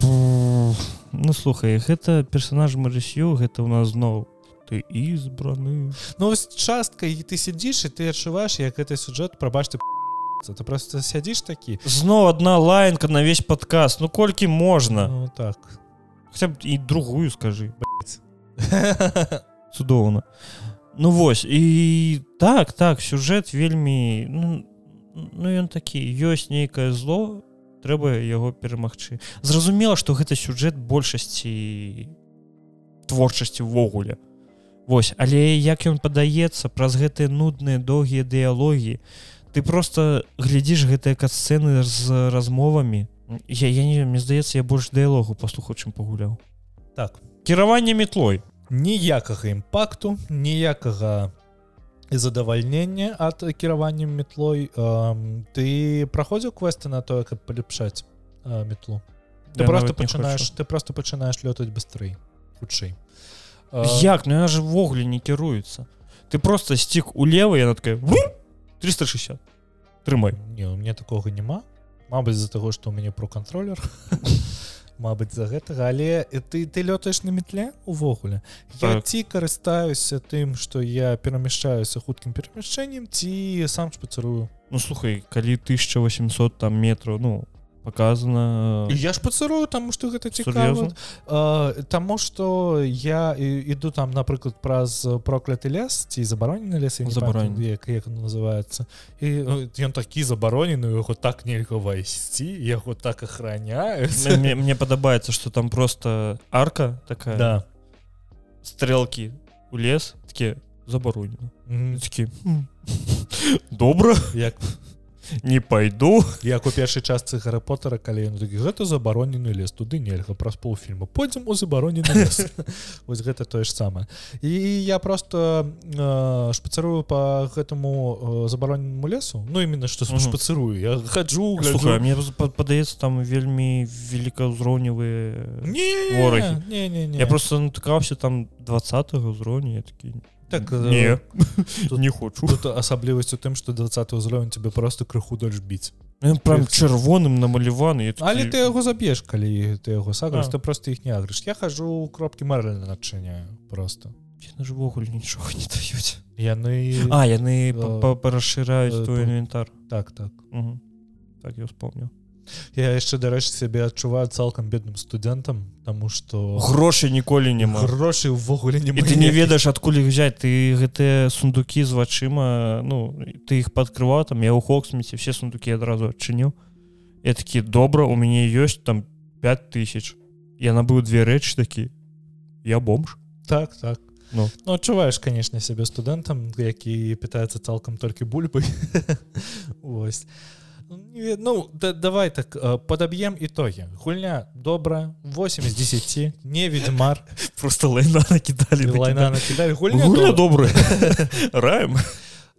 B: ну слухай гэта персонаж марысю гэта у нас зноў ты избраны
A: Ну вось частка і ты сядзіш і ты адчуваеш як гэты сюжэт прабач ты п***цца. ты просто сядзіш такі
B: зноў одна лаянка на весь падказ ну колькі можна
A: ну так
B: хотя б і другую скажы
A: блядь.
B: цудоўна ну вось і так так сюжэт вельмі ну, ну ён такі ёсць нейкае зло трэба яго перамагчы зразумела што гэта сюжэт большасці творчасці ўвогуле Вось але як ён падаецца праз гэтыя нудныя доўгія дыялогі ты просто глядзіш гэтыя касцэны з размовамі я, я не мне здаецца я больш дыялогу паслухаў чым пагуляў
A: Так.
B: кіраванне метлой
A: ніякага імпакту ніякага задавальнення ад кіравання метлой эм, ты праходзіў квесты на тое каб паляпшаць э, метлу ты
B: Я
A: просто
B: нават не
A: пачынаеш ты просто пачынаеш лётаць быстрэй хутчэй Э,
B: Як? Ну яна же ввогуле не кіруецца. Ты просто сцік улево, яна такая «Вум! 360. Трымай.
A: не у мне такога няма Мабыць з-за таго што ў мяне про контроллер Мабыць за гэтага але э, ты ты лётаеш на метле увогуле я
B: Так.
A: ці карыстаюся тым што я перамяшчаюся хуткім перамяшчэннем ці сам шпацырую
B: Ну слухай, калі 1800 там метраў, ну показана э,
A: я шпацырую таму што гэта цікава
B: сур'ёзна.
A: Э, Таму што я і- іду там напрыклад праз прокляты лес ці забаронены лес я не
B: Забаронены.
A: памятаю, як як он называется і э, ён такі забаронены у яго так нельга вайсці яго так
B: Мне-
A: ахраняюць
B: мне, мне падабаецца, што там просто арка такая
A: да
B: стрэлкі у лес такі забаронена.
A: Мгм.
B: Такі «М, добра
A: як
B: не пайду
A: як у першай частцы гарары поттера калі ён такі гэта забаронены лес туды нельга праз паўфільма пойдзем у забаронены лес вось гэта тое ж самае і я просто э, шпацырую по гэтаму э, забароненому лесу ну именно што
B: Мгм.
A: шпацырую я хаджу гляджу.
B: Слухай, а мне з- па- падаецца там вельмі великаўзроўневыя
A: Не,
B: Ворагі.
A: не, не, не.
B: Я просто натыкаўся там 20 ўзроўню я такі
A: так э,
B: не
A: тут-
B: не хочу
A: тут асаблівасць у тым што 20 ўзровень тебе просто крыху дольш біць
B: Ён прям чырвоным намаляваны я такі,
A: але ты яго заб'еш калі ты яго сагрыш
B: А.
A: ты просто іх не агрыш я хожу кропки марльна адчыняю просто
B: яны ж увогуле нічога не даюць
A: яны
B: А яны
A: Э,
B: парашыраюць
A: э, пом-
B: твой інвентар
A: так так
B: Мгм. так я успомніў
A: Я яшчэ дарэчы сябе адчуваю цалкам бедным студэнтам тому што
B: грошай ніколі няма
A: грошай увогуле не
B: і ты не ведаеш адкуль іх взять ты гэтыя сундукі з вачыма ну ты іх падкрываў там я ў хоксміце все сундукі адразу адчыню я такі добра у мяне ёсць там 5000 я набыў две рэчы такі я бомж
A: так так
B: Ну.
A: ну адчуваеш канешне сябе студэнтам які пытаецца цалкам толькі бульбы Вось Ну, не ве- ну да, давай так э, падаб'ем ітогі гульня добра 8 з 10 не ведьмар
B: просто лайна накідалі
A: лайна накідалі гульня
B: гуля
A: добра.
B: добры раем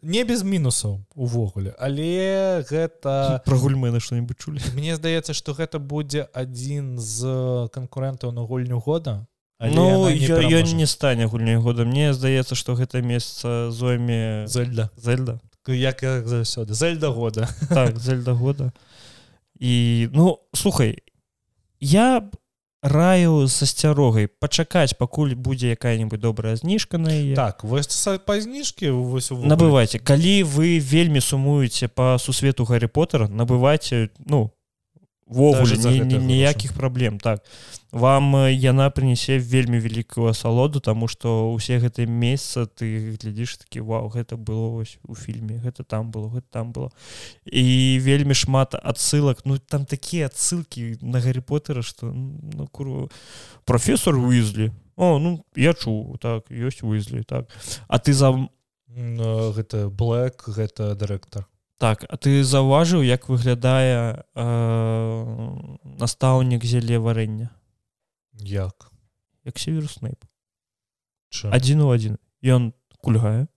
A: не без мінусаў увогуле але гэта
B: про гульмы на что-нибудь чулі
A: Мне здаецца што гэта будзе адзін з канкурэнтаў на гульню года але
B: ну
A: яна не
B: я- ён
A: пераможа.
B: не стане гульней года мне здаецца што гэта месца зойме
A: зельда
B: зельда
A: як як заўсёды зельда года
B: так зельда года і ну слухай я б раю са сцярогай пачакаць пакуль будзе якая-небудзь добрая зніжка на яе
A: так вось са- па зніжкі вось увогуле.
B: набывайце калі вы вельмі сумуеце по сусвету гарри поттера набывайце ну ввогуле
A: Даже за
B: ні-
A: гэта
B: ні-
A: грошы.
B: ніякіх праблем так вам э, яна прынясе вельмі вялікую асалоду тому что усе гэтыя месяца ты глядзіш такі Вау гэта было вось у фільме гэта там было гэта там было і вельмі шмат адсылак ну там такія адсылкі на гарри поттера что ну курва професор уизлі О ну я чуў так ёсць уизлі так а ты за
A: М, э, гэта блэк гэта дырэктар
B: Так, а ты заўважыў, як выглядае э, настаўнік зеле варэння
A: як
B: як север снейп
A: Чым?
B: адзін у адзін ён кульгае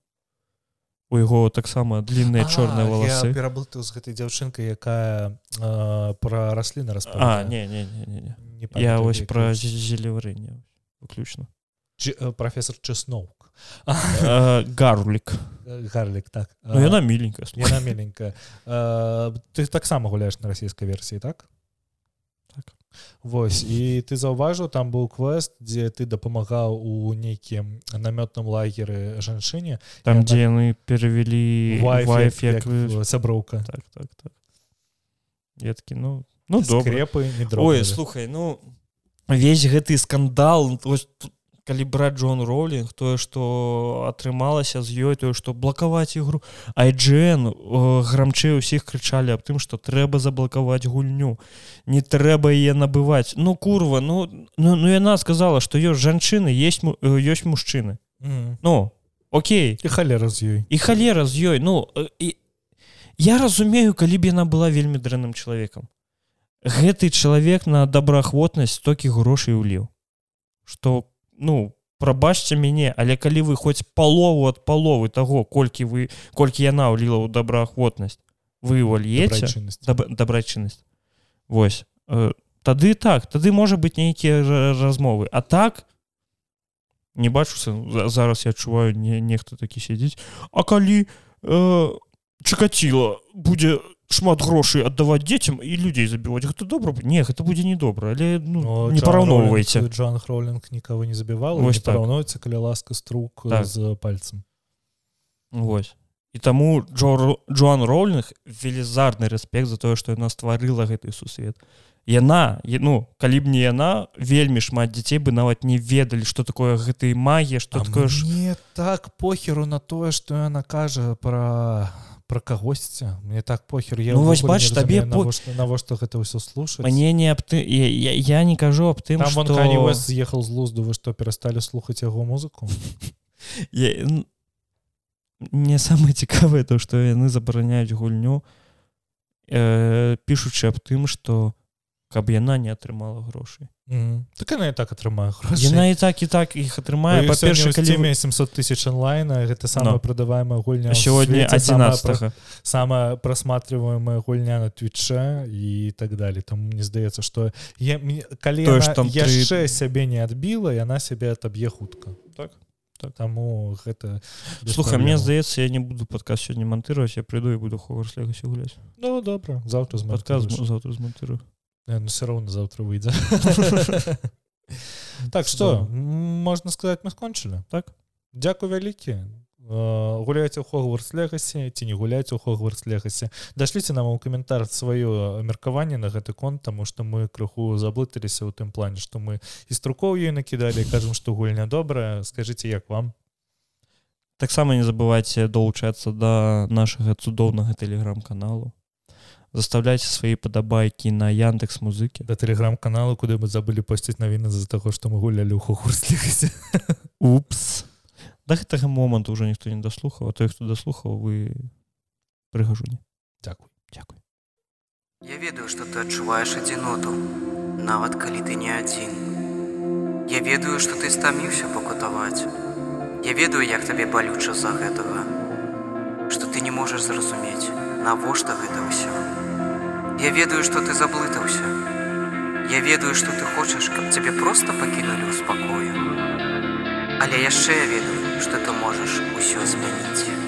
B: у яго таксама длинныя
A: А,
B: чорныя
A: я
B: валасы
A: пераблытаў з гэтай дзяўчынкай якая э, пра расліны
B: А
A: распавядае.
B: не не, не, не, не.
A: Не
B: я
A: памятаю,
B: вось
A: як
B: пра
A: яе.
B: зеле варэння выключна
A: Дж- э, прафесор чесноўк
B: Э, гарлік
A: Э, гарлік так
B: Ну
A: Э,
B: яна міленькая слухай.
A: Яна меленькая Э, ты таксама гуляеш на расійскай версіі так
B: Так.
A: Вось і ты заўважыў там быў квест дзе ты дапамагаў у нейкім намётным лагеры жанчыне
B: там
A: яна-
B: дзе яны перавялі
A: так. Вайф,
B: вайф
A: як-
B: як вы-
A: як сяброўка
B: так так так я такі ну ну добра
A: скрепы не
B: Ой
A: дробныя.
B: слухай ну весь гэты скандал вось тут, калі браць Джон ролінг тое што атрымалася з ёй тое што блакаваць ігру айджн грамчэй усіх крычалі аб тым што трэба заблакаваць гульню не трэба яе набываць ну курва ну ну, ну яна сказала што ёсць жанчыны есть му- э, ёсць мужчыны
A: Мгм.
B: ну Окей
A: І халера з ёй
B: і халера з ёй ну э, і... я разумею калі б яна была вельмі дрэнным чалавекам гэты чалавек на добраахвотнасць столькі грошай уліў что ну прабачце мяне але калі вы хоць палову ад паловы таго колькі вы колькі яна ўліла ў добраахвотнасць вы вольеце
A: Дабрачыннасць.
B: даб, дабрачыннасць Вось э, тады так тады можа быць нейкія ра- размовы а так не бачу сэн- за- зараз я адчуваю не нехта такі сядзіць А калі э, чакаціла будзе шмат грошай аддаваць дзецям і людзей забіваць гэта добра не гэта будзе недобра але ну,
A: Но
B: не
A: Джан
B: параўноўвайце
A: Роулінг- Джан Роулінг нікого не забівала
B: Вось
A: не
B: так.
A: параўноўваецца каля ласка струк
B: Так.
A: з пальцем
B: Вось. І таму Джор... Джоан Роўлінг велізарны рэспект за тое, што яна стварыла гэты сусвет. Яна я- ну калі б не яна вельмі шмат дзяцей бы нават не ведалі што такое гэтай магія што такое ж
A: не так похеру на тое што яна кажа про про кагосьці мне так похер я
B: Ну, вось
A: ўвогуле не
B: бач, табе
A: разумею,
B: по-
A: навошта навошта гэта ўсё слушаць
B: мне не аб ты я, я, я не кажу аб тым
A: там
B: што...
A: вон Кані Уэст з'ехал з лузду вы што перасталі слухаць яго музыку
B: я... н- мне самае цікавае то што яны забараняюць гульню э, пішучы аб тым што каб яна не атрымала грошай
A: Мгм. так яна і так атрымае грошай
B: яна і так і так іх атрымае
A: Па перша
B: па-перша калі вы-
A: калі 700 тысяч онлайна гэта
B: Но.
A: самая прадаваемая гульня ў
B: сегодня
A: свеце, самая
B: 11
A: самая просматриваемая гульня на твічэ і так далее там мне здаецца что я мне- калі
B: Тое ж
A: яна
B: там тры-
A: яшчэ сябе не адбіла яна сябе атаб'е хутка
B: Так, так.
A: таму гэта без
B: слухай мне
A: праблем.
B: здаецца я не буду подкаст сегодня монтировать я приду и буду хорс легасе гуляць
A: ну добра заўтра з
B: подкаст м- завтра змонтирую
A: все равно завтра выйдзе так что
B: Здорово.
A: можна сказать мы скончылі
B: Так.
A: дзякую вялікі Э, гуляйце ў хогварс легасе ці не гуляйце ў хогварс легасе дашліце нам у каментар сваё меркаванне на гэты конт таму што мы крыху заблыталіся ў тым плане што мы і струкоў ёй накідалі кажам што гульня добрая скажыце як вам
B: таксама Так не забывайте долучацца до нашага цудоўнага телеграм-каналу заставляйте свои падабайкі на яндекс музыкі
A: да тэлеграм-каналу куды мы забылі посціць навіны з-за таго што мы гулялі ў хогварс легасе
B: упс до гэтага моманту уже ніхто не даслухаў а той хто даслухаў вы прыгажуні
A: Дзякуй.
B: дзякуй
C: Я ведаю, что ты адчуваеш адзіноту, нават калі ты не адзін. Я ведаю, што ты стаміўся пакутаваць. Я ведаю, як табе балюча з-за гэтага, што ты не можаш зразумець, навошта гэта ўсё. Я ведаю, што ты заблытаўся. Я ведаю, што ты хочаш, каб цябе проста пакінулі ў спакою. Але яшчэ я ведаю, што ты можаш усё змяніць.